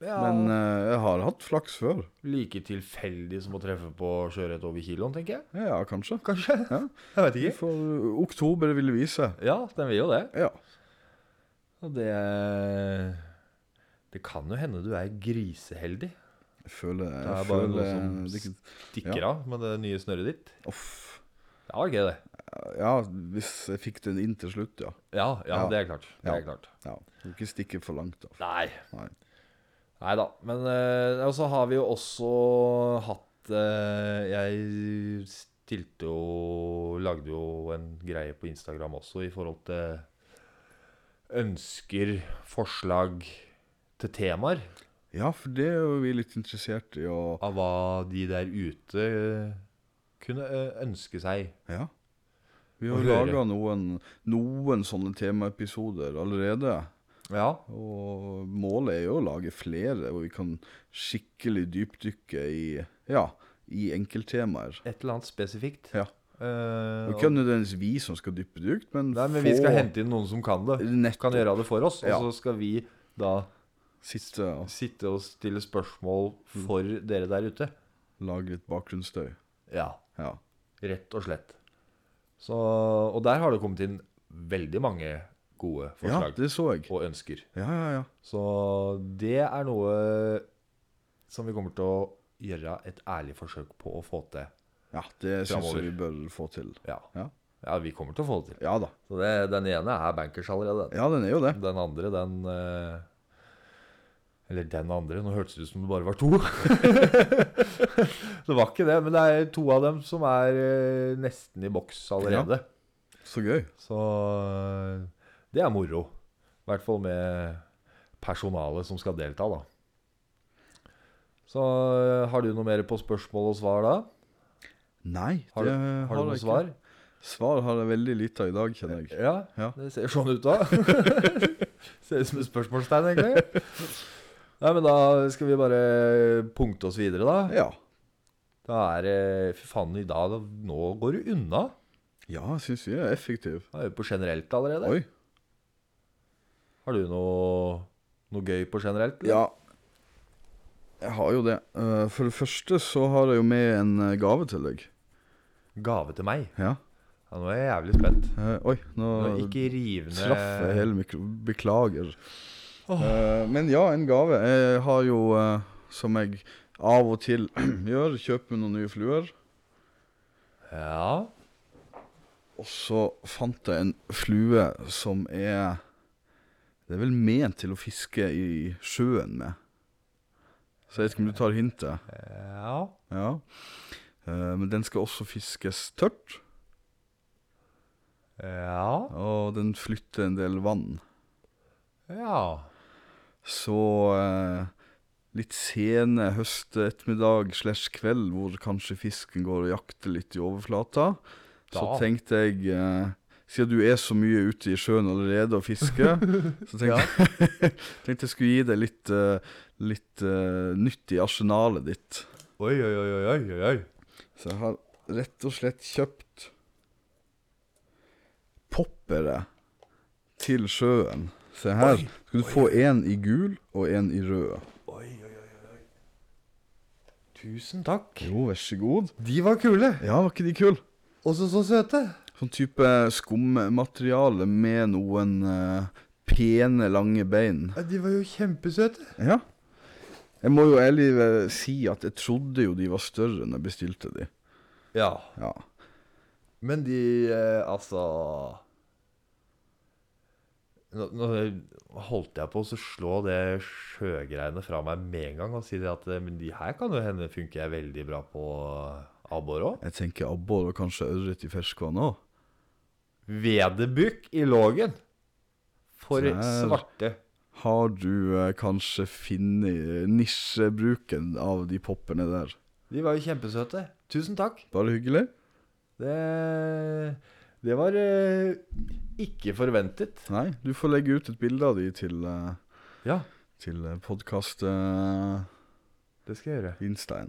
S3: ja,
S2: Men eh, jeg har hatt flaks før.
S3: like tilfeldig som å treffe på sjøørret over kiloen, tenker jeg.
S2: Ja, kanskje.
S3: Kanskje?
S2: Ja.
S3: Jeg vet ikke.
S2: For eh, oktober vil vise.
S3: Ja, den vil jo det.
S2: Ja.
S3: Og det Det kan jo hende du er griseheldig.
S2: Jeg føler
S3: Det
S2: jeg
S3: er bare noe
S2: føler, eh,
S3: som
S2: det ikke-
S3: stikker av med det nye snøret ditt.
S2: Uff.
S3: Det var gøy, det.
S2: Ja, hvis jeg fikk den inn til slutt, ja.
S3: Ja, ja,
S2: Ja.
S3: det er klart. Det
S2: Ja.
S3: er klart.
S2: ja. Du ikke stikke for langt, altså. da.
S3: Nei.
S2: Nei.
S3: Nei da. Men eh, og så har vi jo også hatt eh, Jeg stilte jo Lagde jo en greie på Instagram også i forhold til ønsker, forslag til temaer.
S2: Ja, for det er jo vi litt interessert i å
S3: Av hva de der ute eh, kunne eh, ønske seg.
S2: Ja. Vi har
S3: Å høre.
S2: laga noen, noen sånne temaepisoder allerede.
S3: Ja.
S2: Og målet er jo å lage flere hvor vi kan skikkelig dypdykke i Ja, i enkelttemaer.
S3: Et eller annet spesifikt.
S2: Ja.
S3: Eh,
S2: Det er ikke nødvendigvis vi som skal dyppe dypt, men
S3: Nei, men vi skal
S2: få
S3: hente inn noen som kan det.
S2: Nettopp.
S3: Kan gjøre det for oss. Og
S2: Ja.
S3: så skal vi da
S2: sitte og
S3: sitte og stille spørsmål
S2: Mm.
S3: for dere der ute.
S2: lage litt bakgrunnsstøy.
S3: Ja,
S2: Ja.
S3: rett og slett. Så, og der har det kommet inn veldig mange gode
S2: ja,
S3: forslag
S2: det så jeg.
S3: og ønsker.
S2: Ja, ja, ja.
S3: Så det er noe som vi kommer til å gjøre et ærlig forsøk på å få til.
S2: Ja, det syns
S3: Fremover.
S2: jeg vi bør få til.
S3: Ja,
S2: Ja.
S3: ja vi kommer til å få det til.
S2: ja da.
S3: Så det, den ene er bankers allerede.
S2: Ja, den er jo det.
S3: Den andre, den eh, Eller den andre. Nå hørtes det ut som det bare var to. det var ikke det, men det er to av dem som er eh, nesten i boks allerede.
S2: Så gøy.
S3: Så eh, det er moro. I hvert fall med personalet som skal delta, da. Så eh, har du noe mer på spørsmål og svar da?
S2: Nei,
S3: Har du,
S2: det
S3: har du
S2: jeg
S3: noe
S2: ikke.
S3: svar?
S2: Svar har jeg veldig lite av i dag, kjenner jeg.
S3: Ja,
S2: Ja.
S3: det ser sånn ut da. ser ut som et spørsmålstegn, egentlig. Nei, men da skal vi bare punkte oss videre, da.
S2: Ja,
S3: Da er det Fy faen, i dag da, Nå går du unna.
S2: ja jeg syns vi er effektive.
S3: Da er vi på generelt allerede.
S2: Oi.
S3: Har du noe, noe gøy på generelt? eller?
S2: Ja, jeg har jo det. Eh, For det første så har jeg jo med en eh, gave til deg.
S3: Gave til meg?
S2: Ja.
S3: Ja, nå er jeg jævlig spent.
S2: Eh, Oi, nå
S3: Nå ikke riv ned
S2: Traff jeg hele mikro... Beklager. Eh, men ja, en gave. Jeg har jo, eh, som jeg av og til gjør, kjøper noen nye fluer.
S3: Ja.
S2: Og så fant jeg en flue som er Det er vel ment til å fiske i sjøen med. Så jeg vet ikke om du tar hintet.
S3: ja.
S2: Ja. Eh, men den skal også fiskes tørt,
S3: Ja.
S2: og den flytter en del vann.
S3: Ja.
S2: Så eh, litt sene høstettermiddag slash kveld, hvor kanskje fisken går og jakter litt i overflata, så
S3: Da.
S2: tenkte jeg eh, Siden du er så mye ute i sjøen allerede og fisker, så tenkte, tenkte jeg skulle gi deg litt, eh, litt eh, nytt i arsenalet ditt.
S3: Oi, oi, oi, oi, oi, oi, oi.
S2: Så jeg har rett og slett kjøpt poppere til sjøen. Se her. Skal du få én i gul og én i rød.
S3: Oi, oi, oi, oi. Tusen takk.
S2: Jo, vær så god.
S3: De var kule.
S2: Ja, var ikke de kule?
S3: Også så søte.
S2: Sånn type skummateriale med noen eh, pene, lange bein.
S3: Ja, De var jo kjempesøte.
S2: Ja. Jeg må jo ærlig eh, si at jeg trodde jo de var større når jeg bestilte de.
S3: Ja.
S2: Ja.
S3: Men de eh, Altså nå, nå holdt jeg på å så slå det sjøgreiene fra meg med en gang og si det at eh, Men de her kan jo hende funker jeg veldig bra på eh, abbor òg.
S2: Jeg tenker abbor og kanskje ørret i ferskvann òg.
S3: Vedebukk i lågen. For
S2: Der.
S3: svarte.
S2: Har du eh, kanskje funnet nisjebruken av de popperne der?
S3: De var jo kjempesøte. Tusen takk.
S2: Bare hyggelig.
S3: Det Det var eh, ikke forventet.
S2: Nei, du får legge ut et bilde av de til, eh,
S3: Ja,
S2: til eh, podkast-instaen.
S3: det skal jeg gjøre.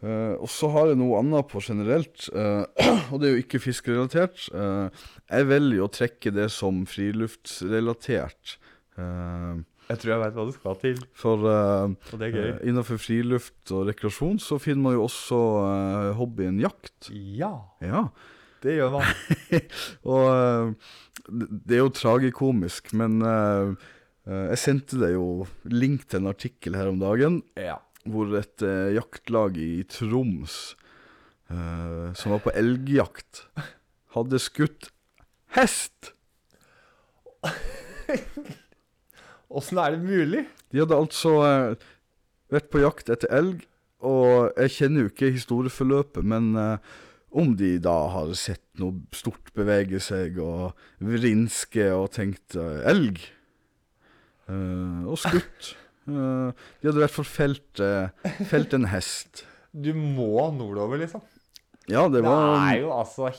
S2: Eh, og så har jeg noe annet på generelt, eh, og det er jo ikke fiskerelatert. Eh, jeg velger å trekke det som friluftsrelatert. Eh,
S3: Jeg tror jeg veit hva du skal til,
S2: for eh,
S3: og det er gøy.
S2: eh, innenfor friluft og rekreasjon så finner man jo også eh, hobbyen jakt.
S3: Ja,
S2: Ja,
S3: det gjør man.
S2: Og eh, det det er jo tragikomisk, men eh, eh, jeg sendte deg jo link til en artikkel her om dagen
S3: Ja.
S2: hvor et eh, jaktlag i Troms eh, som var på elgjakt, hadde skutt hest!
S3: Åssen er det mulig?
S2: De hadde altså eh, vært på jakt etter elg, og jeg kjenner jo ikke historieforløpet, men eh, om de da har sett noe stort bevege seg og vrinske og tenkt eh, elg eh, og skutt. Eh, de hadde i hvert fall felt, eh, felt en hest.
S3: Du må nordover, liksom.
S2: Ja, det
S3: Det,
S2: var
S3: er jo altså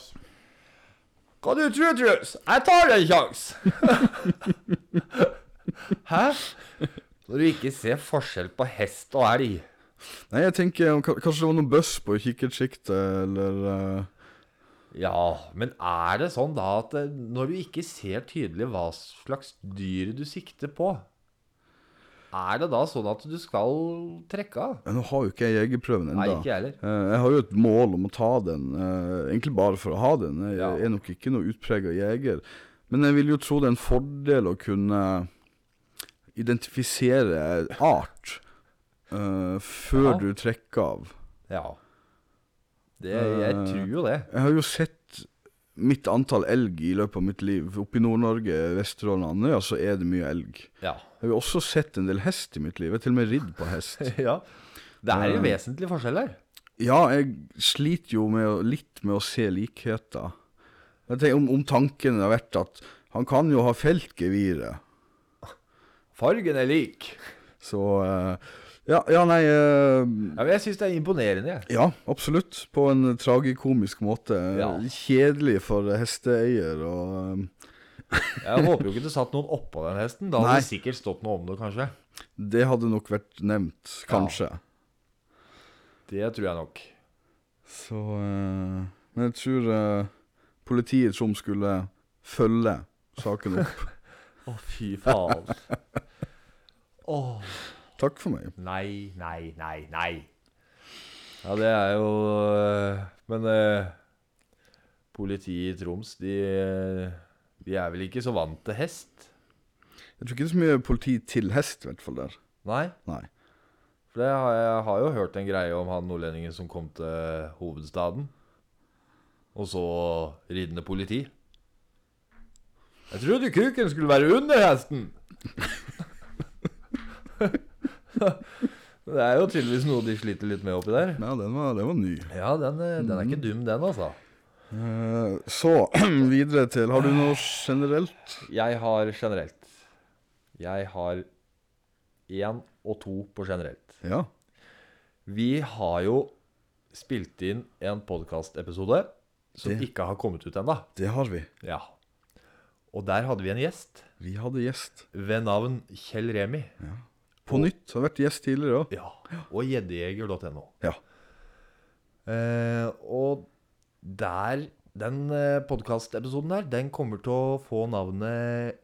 S3: Hva du tror, Truls? Jeg tar en sjanse! Hæ? Når du ikke ser forskjell på hest og elg.
S2: Nei, jeg tenker om ka- kanskje det var noe bøss på kikkertsjiktet, eller eh,
S3: Ja, men er det sånn da at eh, når du ikke ser tydelig hva slags dyr du sikter på, er det da sånn at du skal trekke av?
S2: ja, Nå har jo ikke jeg jegerprøven
S3: Nei,
S2: ennå.
S3: ikke jeg heller.
S2: Eh, Jeg har jo et mål om å ta den, eh, egentlig bare for å ha den. Jeg
S3: Ja.
S2: er nok ikke noe utprega jeger. Men jeg vil jo tro det er en fordel å kunne identifisere art eh, før
S3: Ja.
S2: du trekker av.
S3: Eh, Ja. Det, jeg tror jo det.
S2: Jeg har jo sett mitt antall elg i løpet av mitt liv Oppe i Nord-Norge, Vesterålen og Andøya, så er det mye elg.
S3: Ja.
S2: Jeg har også sett en del hest i mitt liv. Jeg har til og med ridd på hest.
S3: ja. Det er en vesentlig forskjell her.
S2: Ja, jeg sliter jo med, å- litt med å se likheter. Jeg tenker om, om tanken har vært at han kan jo ha felt geviret.
S3: Fargen er lik.
S2: Så eh, ja, ja, nei eh,
S3: Ja, men jeg syns det er imponerende, jeg.
S2: Ja, absolutt. På en tragikomisk måte.
S3: Ja.
S2: Kjedelig for hesteeier og eh,
S3: Jeg håper jo ikke det satt noen oppå den hesten. Da
S2: Nei.
S3: hadde det sikkert stått noe om det, kanskje.
S2: Det hadde nok vært nevnt, kanskje.
S3: Det tror jeg nok.
S2: Så eh, Men jeg tror eh, politiet i Troms skulle følge saken opp.
S3: Å, fy faen. Å,
S2: Takk for meg.
S3: nei, nei, nei, nei. Ja, det er jo øh, Men øh, politiet i Troms, de, øh, de er vel ikke så vant til hest?
S2: Jeg tror ikke det er så mye politi til hest, i hvert fall der.
S3: Nei?
S2: Nei.
S3: For det har jeg, jeg har jo hørt en greie om han nordlendingen som kom til eh, hovedstaden. Og så ridende politi. Jeg trodde kuken skulle være under hesten! det er jo tydeligvis noe de sliter litt med oppi der.
S2: Ja, den var, den var ny.
S3: Ja, den, eh, den er ikke dum, den, altså.
S2: Eh, så videre til Har du noe generelt?
S3: Jeg har generelt Jeg har én og to på generelt.
S2: Ja.
S3: Vi har jo spilt inn en podkastepisode som
S2: Det-
S3: ikke har kommet ut ennå.
S2: Det har vi.
S3: Ja. Og der hadde vi en gjest
S2: Vi hadde gjest.
S3: ved navn Kjell Remi.
S2: På nytt. Har vært gjest tidligere òg.
S3: Ja. Og gjeddejeger.no.
S2: Ja.
S3: Eh, og der Den eh, podkastepisoden der, den kommer til å få navnet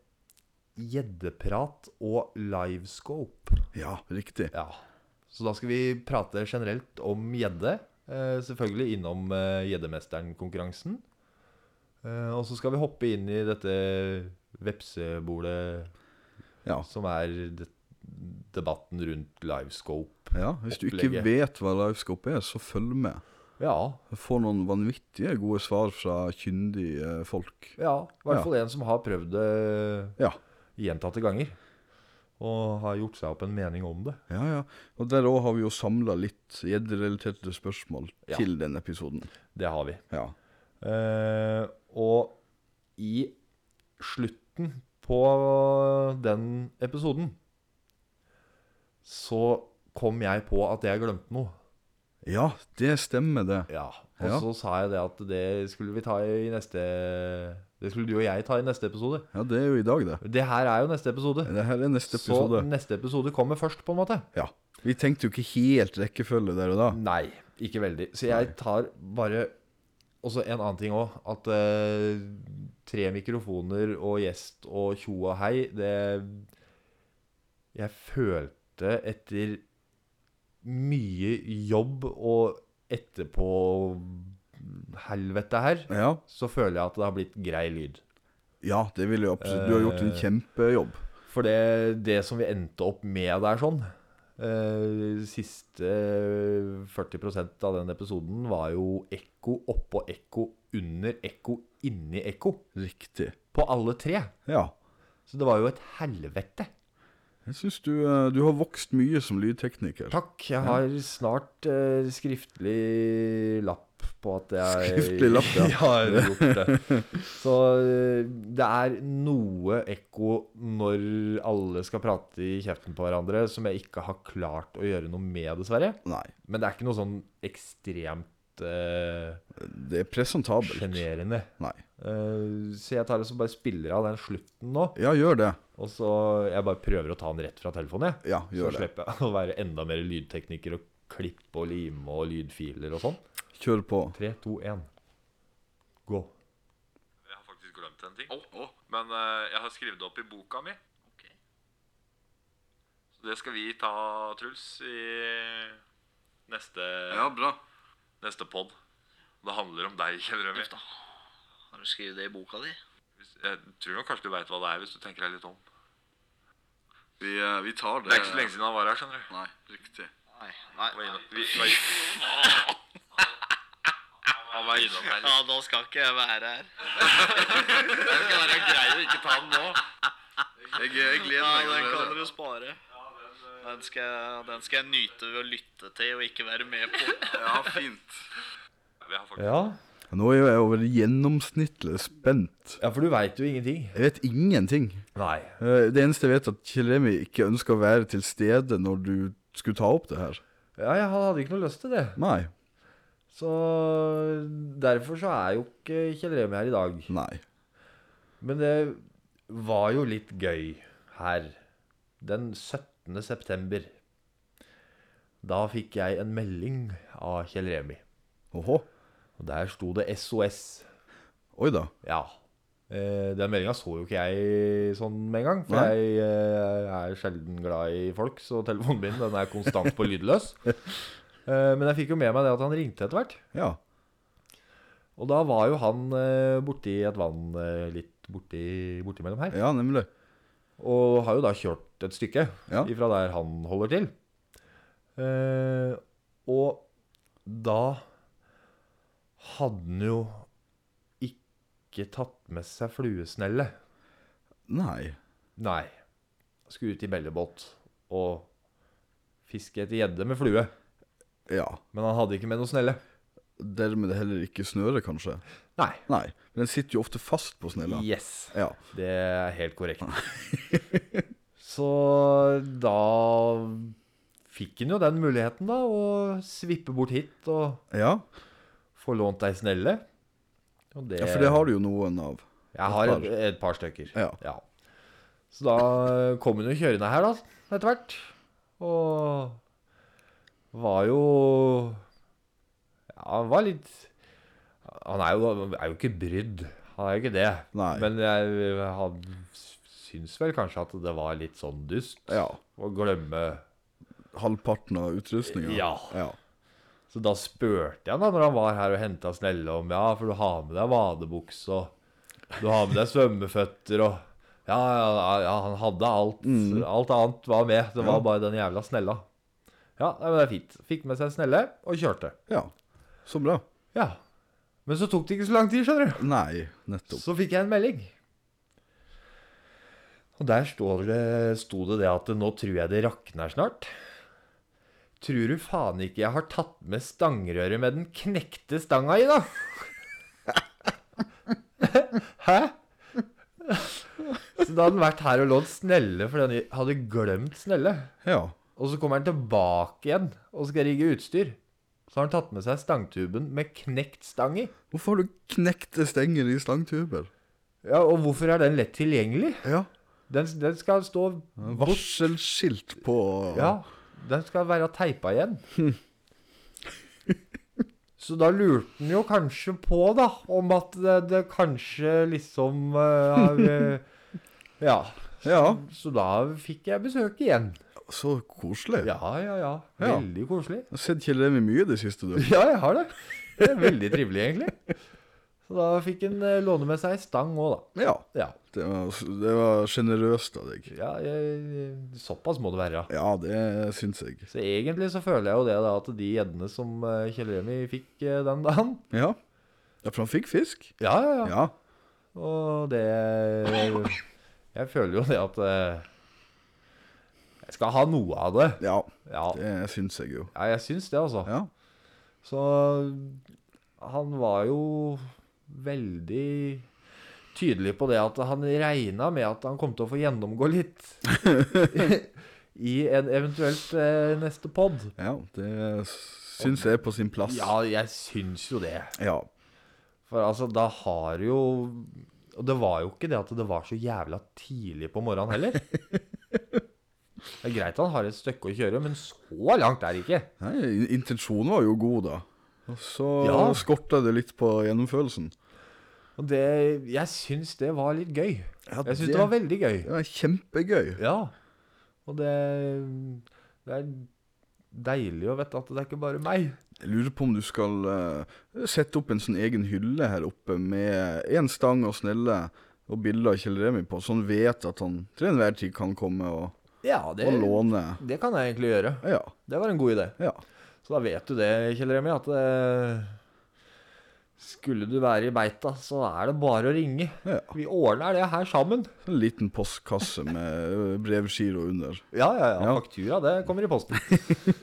S3: Gjeddeprat og Livescope.
S2: ja, riktig.
S3: Ja. Så da skal vi prate generelt om gjedde. Eh, selvfølgelig innom eh, Gjeddemesteren-konkurransen. Eh, og så skal vi hoppe inn i dette vepsebordet
S2: Ja.
S3: som er det, debatten rundt livescope.
S2: ja. Hvis du ikke
S3: Opplegget.
S2: vet hva livescope er, så følg med.
S3: Ja,
S2: Du får noen vanvittige gode svar fra kyndige eh, folk.
S3: ja. I hvert
S2: Ja.
S3: fall en som har prøvd det
S2: Ja.
S3: gjentatte ganger. Og har gjort seg opp en mening om det.
S2: Ja, ja. Og der òg har vi jo samla litt gjedderelaterte spørsmål
S3: Ja.
S2: til den episoden.
S3: Det har vi.
S2: Ja.
S3: Eh, og i slutten på den episoden så kom jeg på at jeg glemte noe.
S2: ja, det stemmer, det.
S3: Ja. Og
S2: Ja.
S3: så sa jeg det at det skulle vi ta i neste Det skulle du og jeg ta i neste episode.
S2: Ja, Det er jo i dag, det.
S3: Det her er jo neste episode.
S2: Det her er neste
S3: Så
S2: episode.
S3: neste episode kommer først, på en måte?
S2: Ja. Vi tenkte jo ikke helt rekkefølge der og da.
S3: Nei, ikke veldig. Så jeg tar bare Også en annen ting òg. At eh, tre mikrofoner og gjest og tjo og hei, det Jeg følte etter mye jobb og etterpå helvete her,
S2: Ja,
S3: så føler jeg at det har blitt grei lyd.
S2: ja det vil jeg absolutt. Du har gjort
S4: Eh.
S2: en kjempejobb.
S3: For det, det som vi endte opp med der sånn eh, Siste 40 av den episoden var jo ekko oppå ekko, under ekko, inni ekko.
S2: Riktig.
S3: På alle tre.
S2: Ja.
S3: Så det var jo et helvete.
S2: Jeg syns du, eh, du har vokst mye som lydtekniker.
S3: Takk. Jeg har snart eh, skriftlig lapp på at jeg
S2: Skriftlig lapp, ja.
S3: har gjort det. Så eh, det er noe ekko når alle skal prate i kjeften på hverandre, som jeg ikke har klart å gjøre noe med, dessverre.
S2: Nei,
S3: Men det er ikke noe sånn ekstremt eh,
S2: det er presentabelt.
S3: sjenerende.
S2: Nei.
S3: Eh, så jeg tar det som bare spiller av den slutten nå.
S2: Ja, gjør det.
S3: Og så Jeg bare prøver å ta den rett fra telefonen, jeg.
S2: Ja,
S3: Så
S2: gjør det.
S3: slipper jeg å være enda mer lydtekniker og klippe og lime og lydfiler og sånn.
S2: Kjør på.
S3: 3, 2, 1. Gå.
S4: Jeg har faktisk glemt en ting. Men eh, jeg har skrevet det opp i boka mi. Så det skal vi ta, Truls, i neste,
S5: Ja, bra.
S4: neste pod. Det handler om deg, kjenner du
S5: Uff da. Har du skrevet det i boka di?
S4: Jeg tror nok kanskje du veit hva det er, hvis du tenker deg litt om.
S6: Vi, eh, vi tar det
S4: Det er ikke så lenge siden han var her, skjønner du.
S6: Nei, riktig.
S5: Nei. nei,
S4: Han var innom- vi- vi var- Han være innom her.
S5: Ja, da skal ikke jeg være her.
S4: Det skal være greit å ikke ta den nå.
S6: Jeg, jeg gleder
S5: Ja,
S6: meg
S5: den kan
S6: allerede.
S5: dere spare. Den skal, jeg- den skal jeg nyte ved å lytte til og ikke være med på.
S6: Ja, fint.
S4: Vi har faktisk
S3: Ja,
S2: Nå er jo jeg over gjennomsnittlig spent.
S3: ja for du veit jo ingenting.
S2: Jeg vet ingenting.
S3: Nei.
S2: Eh, Det eneste jeg vet, er at Kjell Remi ikke ønsker å være til stede når du skulle ta opp det her.
S3: Ja, jeg hadde ikke noe lyst til det.
S2: Nei.
S3: Så derfor så er jo ikke Kjell Remi her i dag.
S2: Nei.
S3: Men det var jo litt gøy her. Den 17. september. Da fikk jeg en melding av Kjell Remi.
S2: Åhå.
S3: Og der sto det SOS.
S2: Oi da.
S3: Ja. Eh, Den meldinga så jo ikke jeg sånn med en gang. For
S2: Nei.
S3: jeg eh, er sjelden glad i folk, så telefonen min den er konstant på lydløs. Eh, Men jeg fikk jo med meg det at han ringte etter hvert.
S2: Ja.
S3: Og da var jo han eh, borti et vann eh, litt borti, bortimellom her.
S2: Ja, nemlig.
S3: Og har jo da kjørt et stykke
S2: Ja.
S3: ifra der han holder til. Eh, og da hadde han jo ikke tatt med seg fluesnelle.
S2: Nei.
S3: Nei. Skulle ut i bellebåt og fiske etter gjedde med flue.
S2: Ja.
S3: Men han hadde ikke med noe snelle.
S2: Dermed det heller ikke snøret, kanskje.
S3: Nei.
S2: Nei. Men den sitter jo ofte fast på snella.
S3: Yes.
S2: Ja.
S3: Det er helt korrekt. Så da fikk han jo den muligheten, da, å svippe bort hit og
S2: ja.
S3: få lånt ei snelle. Og det,
S2: Ja, for det har du jo noen av.
S3: Jeg har
S2: et
S3: et,
S2: par.
S3: et par stykker.
S2: Ja.
S3: Så da kom hun jo kjørende her, da, etter hvert. Og var jo Ja, han var litt Han er jo, er jo ikke brydd. Han er jo ikke det.
S2: Nei.
S3: Men jeg, han syns vel kanskje at det var litt sånn dust
S2: Ja.
S3: å glemme
S2: Halvparten av utrustninga.
S3: Ja.
S2: ja.
S3: Så da spurte jeg han da når han var her og henta snelle om Ja, for du har med deg vadebukse og du har med deg svømmeføtter og Ja, ja, ja han hadde alt. Alt annet var med. Det var
S2: Ja.
S3: bare den jævla snella. Ja, nei, men det er fint. Fikk med seg snelle og kjørte.
S2: Ja. Så bra.
S3: Ja. Men så tok det ikke så lang tid, skjønner du.
S2: Nei, nettopp.
S3: Så fikk jeg en melding. Og der står det, sto det det at nå tror jeg det rakner snart. Tror du faen ikke jeg har tatt med stangrøret med den knekte stanga i, da? Hæ? Så da hadde han vært her og lånt snelle fordi han hadde glemt snelle.
S2: Ja.
S3: Og så kommer han tilbake igjen og skal rigge utstyr. Så har han tatt med seg stangtuben med knekt stang i.
S2: Hvorfor har du knekte stenger i slangtuber?
S3: Ja, Og hvorfor er den lett tilgjengelig?
S2: Ja.
S3: Den, den skal stå
S2: Varselskilt på
S3: Ja, den skal være teipa igjen. Så da lurte han jo kanskje på, da, om at det, det kanskje liksom eh, har, eh, Ja.
S2: Ja,
S3: Så da fikk jeg besøk igjen.
S2: Så koselig.
S3: Ja, ja, ja.
S2: Ja.
S3: Veldig koselig.
S2: Jeg har sett Kjell Remi mye i det siste, du.
S3: Ja, jeg har det. det er veldig trivelig, egentlig. Så da fikk han eh, låne med seg ei stang òg,
S2: Ja.
S3: da. Ja.
S2: Det var, det var sjenerøst av deg.
S3: ja jeg, såpass må det være.
S2: Ja, det syns jeg.
S3: Så egentlig så føler jeg jo det da at de gjeddene som eh, Kjell Remi fikk eh, den dagen
S2: Ja. ja, for han fikk fisk.
S3: Ja, ja, ja.
S2: Ja.
S3: Og det Jeg føler jo det at eh, Jeg skal ha noe av det.
S2: Ja,
S3: Ja,
S2: det syns jeg jo.
S3: ja jeg syns det, altså.
S2: Ja.
S3: Så han var jo veldig tydelig på det at han regna med at han kom til å få gjennomgå litt i en eventuelt eh, neste pod.
S2: ja det syns jeg er på sin plass.
S3: Ja, jeg syns jo det.
S2: Ja.
S3: For altså, da har jo Og det var jo ikke det at det var så jævla tidlig på morgenen heller. Det er greit han har et stykke å kjøre, men så langt er det ikke.
S2: Nei, in- intensjonen var jo god, da. Og så
S3: Ja.
S2: skorta det litt på gjennomførelsen.
S3: Og det, jeg syns det var litt gøy.
S2: Ja,
S3: Jeg syns
S2: det-
S3: det var veldig gøy.
S2: Det var kjempegøy.
S3: Ja. Og det, det er deilig å vite at det er ikke bare meg.
S2: Jeg lurer på om du skal eh, sette opp en sånn egen hylle her oppe med én stang og snelle og bilder av Kjell Remi på, så han vet at han til enhver tid kan komme og,
S3: Ja, det,
S2: og låne.
S3: det kan jeg egentlig gjøre.
S2: Ja.
S3: Det var en god idé.
S2: ja.
S3: Så da vet du det, Kjell Remi, at eh, Skulle du være i beita, så er det bare å ringe.
S2: Ja.
S3: Vi ordner det her sammen.
S2: En liten postkasse med ø, brevgiro under.
S3: Ja, ja, ja.
S2: Ja.
S3: Faktura, det kommer i posten.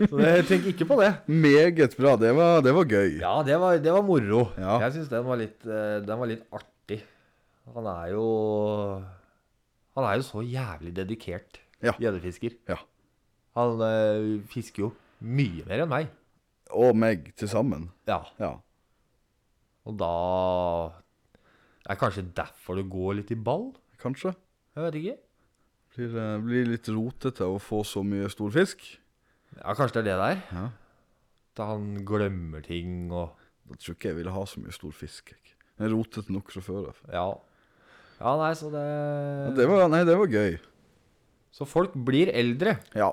S3: Så det- tenk ikke på det.
S2: Meget bra. Det var, det var gøy.
S3: Ja, det var, det var moro.
S2: Ja.
S3: Jeg syns den, var litt, eh, den var litt artig. Han er jo Han er jo så jævlig dedikert
S2: Ja.
S3: gjeddefisker.
S2: Ja.
S3: Han eh, fisker jo mye mer enn meg.
S2: Og meg til sammen.
S3: Ja.
S2: Ja.
S3: Og da Det er kanskje derfor det går litt i ball?
S2: Kanskje.
S3: Jeg vet ikke.
S2: Blir, eh, blir litt rotete å få så mye stor fisk.
S3: Ja, kanskje det er det der.
S2: Ja.
S3: Da han glemmer ting og
S2: Da tror ikke jeg ville ha så mye stor fisk. Jeg, jeg rotet nok fra før av.
S3: Ja. Ja, nei, så det,
S2: Ja, Det var, nei, det var gøy.
S3: Så folk blir eldre,
S2: Ja.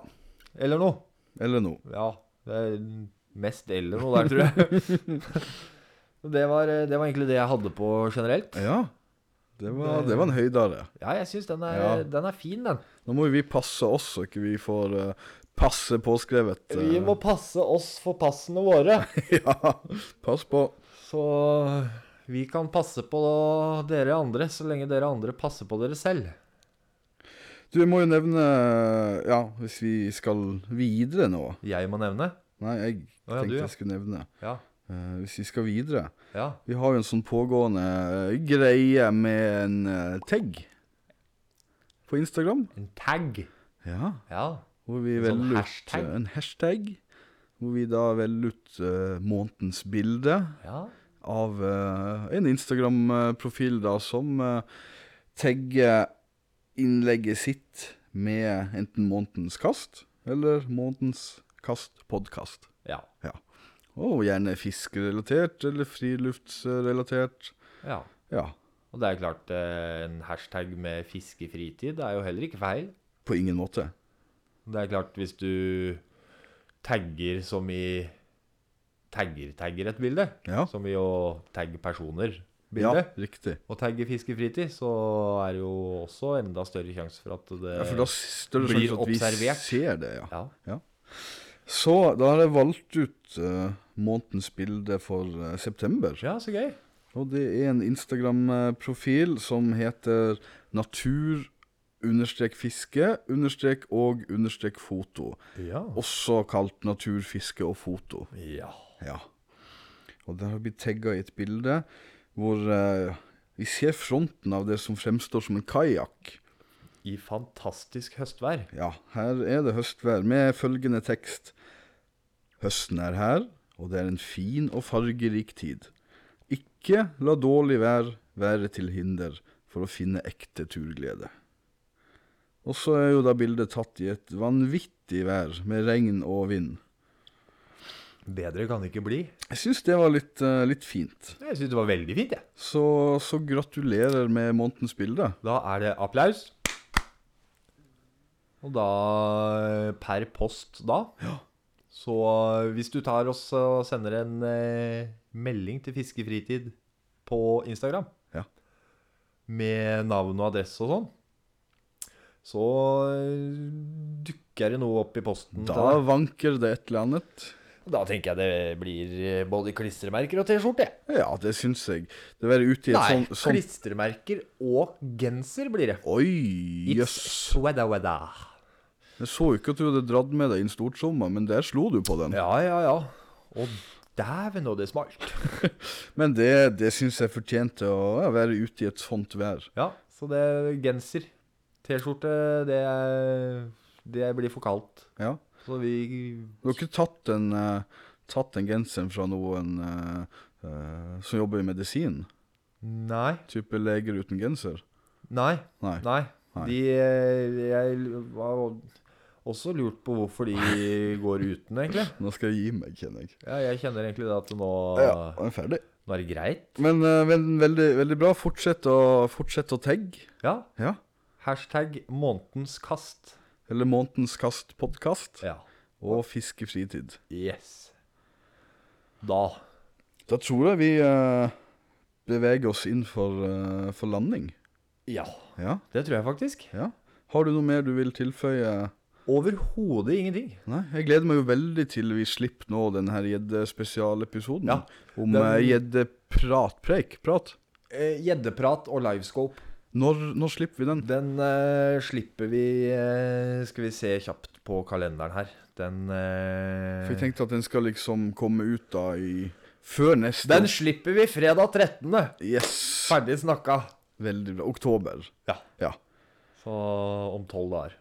S3: eller noe.
S2: Eller noe.
S3: Ja, det er mest eller noe der, tror jeg. det, var, det var egentlig det jeg hadde på generelt.
S2: Ja. Det var, det var en høydare.
S3: Ja, jeg syns den, er-
S2: Ja.
S3: den er fin, den.
S2: Nå må jo vi passe oss, så ikke vi får eh, passe påskrevet. eh,
S3: Vi må passe oss for passene våre.
S2: ja. Pass på.
S3: Så vi kan passe på dere andre så lenge dere andre passer på dere selv.
S2: Du, jeg må jo nevne Ja, hvis vi skal videre nå
S3: Jeg må nevne.
S2: Nei, jeg
S3: Å, ja,
S2: tenkte
S3: du, ja.
S2: jeg skulle nevne.
S3: Ja.
S2: eh, hvis vi skal videre
S3: ja.
S2: Vi har jo en sånn pågående greie med en eh, tag på Instagram.
S3: En tag.
S2: Ja.
S3: Ja.
S2: Hvor vi
S3: En sånn
S2: velger ut
S3: hashtag?
S2: eh, en hashtag. Hvor vi da velger ut eh, månedens bilde
S3: ja.
S2: av eh, en Instagram-profil da som eh, tagger innlegget sitt med enten månedens kast eller månedens kast-podkast.
S3: Ja.
S2: Ja. Og gjerne fiskerelatert eller friluftsrelatert.
S3: ja.
S2: Ja,
S3: Og det er klart, eh, en hashtag med fiskefritid er jo heller ikke feil.
S2: på ingen måte.
S3: Det er klart, hvis du tagger som i Tagger-tagger et bilde,
S2: Ja.
S3: som i å tagge personer
S2: Ja,
S3: bildet,
S2: riktig.
S3: og tagge fiskefritid, så er det jo også enda større sjanse for at det
S2: Ja, for da er større sjanse
S3: blir
S2: sånn at vi
S3: observert.
S2: ser det, ja.
S3: Ja.
S2: Så da har jeg valgt ut eh, månedens bilde for eh, september.
S3: ja, så gøy.
S2: Og det er en Instagram-profil som heter natur understrek fiske understrek og understrek foto.
S3: Ja.
S2: Også kalt naturfiske og foto.
S3: ja.
S2: Ja. Og der har vi tagga i et bilde hvor eh, vi ser fronten av det som fremstår som en kajakk.
S3: I fantastisk høstvær.
S2: Ja, her er det høstvær med følgende tekst. Høsten er her, og det er en fin og fargerik tid. Ikke la dårlig vær være til hinder for å finne ekte turglede. Og så er jo da bildet tatt i et vanvittig vær med regn og vind.
S3: Bedre kan det ikke bli.
S2: Jeg syns det var litt, eh, litt fint.
S3: Jeg syns det var veldig fint, jeg.
S2: Så, så gratulerer med månedens bilde.
S3: Da er det applaus. Og da per post da. Så eh, hvis du tar oss og sender en eh, melding til Fiskefritid på Instagram
S2: Ja.
S3: med navn og adresse og sånn, så eh, dukker det noe opp i posten.
S2: Da
S3: til deg.
S2: vanker det et eller annet.
S3: da tenker jeg det blir eh, både klistremerker og T-skjorte. jeg.
S2: Ja, det syns jeg. Det å være ute i et
S3: Nei,
S2: sånt sånn,
S3: klistremerker og genser blir det.
S2: Oi, jøss.
S3: It's sweater weather.
S2: Jeg så jo ikke at du hadde dratt med deg inn stortromma, men der slo du på den.
S3: Ja, ja, ja. Og dæven, og det smalt.
S2: Men det, det syns jeg fortjente å ja, være ute i et sånt vær.
S3: Ja, så det er genser. T-skjorte, det, er- det blir for kaldt.
S2: Ja.
S3: Så vi
S2: Du har ikke tatt den, eh, tatt den genseren fra noen eh, eh, som jobber i medisin?
S3: Nei.
S2: Type leger uten genser?
S3: Nei.
S2: Nei.
S3: Nei.
S2: Nei.
S3: De eh, Jeg var også lurt på hvorfor de går uten, egentlig.
S2: Nå skal jeg gi meg, kjenner jeg.
S3: Ja, jeg kjenner egentlig det at nå,
S2: Ja, jeg er ferdig.
S3: nå er det greit.
S2: Men eh, vel- veldig, veldig bra. Fortsett å, fortsett å tagge.
S3: Ja.
S2: Ja.
S3: Hashtag månedens kast.
S2: Eller Månedens kast-podkast.
S3: Ja.
S2: Og Fiskefritid.
S3: Yes. Da
S2: Da tror jeg vi eh, beveger oss inn for, eh, for landing.
S3: Ja.
S2: Ja,
S3: Det tror jeg faktisk.
S2: ja. Har du noe mer du vil tilføye?
S3: Å overhodet ingenting.
S2: Nei, jeg gleder meg jo veldig til vi slipper nå denne her gjeddespesialepisoden
S3: Ja,
S2: om
S3: den-
S2: eh, gjeddepratpreik. Prat.
S3: Eh, Gjeddeprat og livescope.
S2: Når, når slipper vi den?
S3: Den eh, slipper vi eh, Skal vi se kjapt på kalenderen her. Den eh,
S2: For jeg tenkte at den skal liksom komme ut da i Før neste
S3: Den slipper vi fredag 13.
S2: Yes!
S3: Ferdig snakka.
S2: Veldig bra. Oktober.
S3: Ja.
S2: Ja.
S3: Så om tolv dager.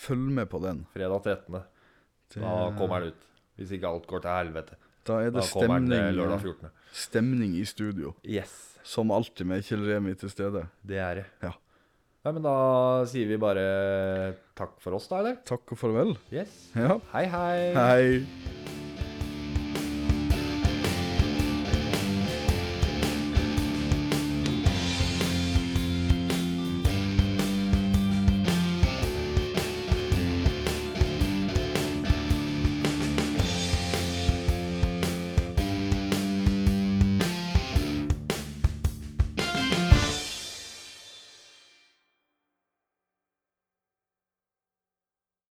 S2: Følg med på den.
S3: Fredag 13. Da kommer den ut. Hvis ikke alt går til helvete.
S2: Da er
S3: Da
S2: det
S3: kommer den eh,
S2: stemning,
S3: lørdag 14.
S2: stemning i studio.
S3: Yes,
S2: Som alltid med Kjell Remi til stede.
S3: det er det.
S2: Ja.
S3: Nei, men da sier vi bare takk for oss, da, eller?
S2: Takk og farvel.
S3: Yes.
S2: Ja.
S3: Hei, hei.
S2: Hei.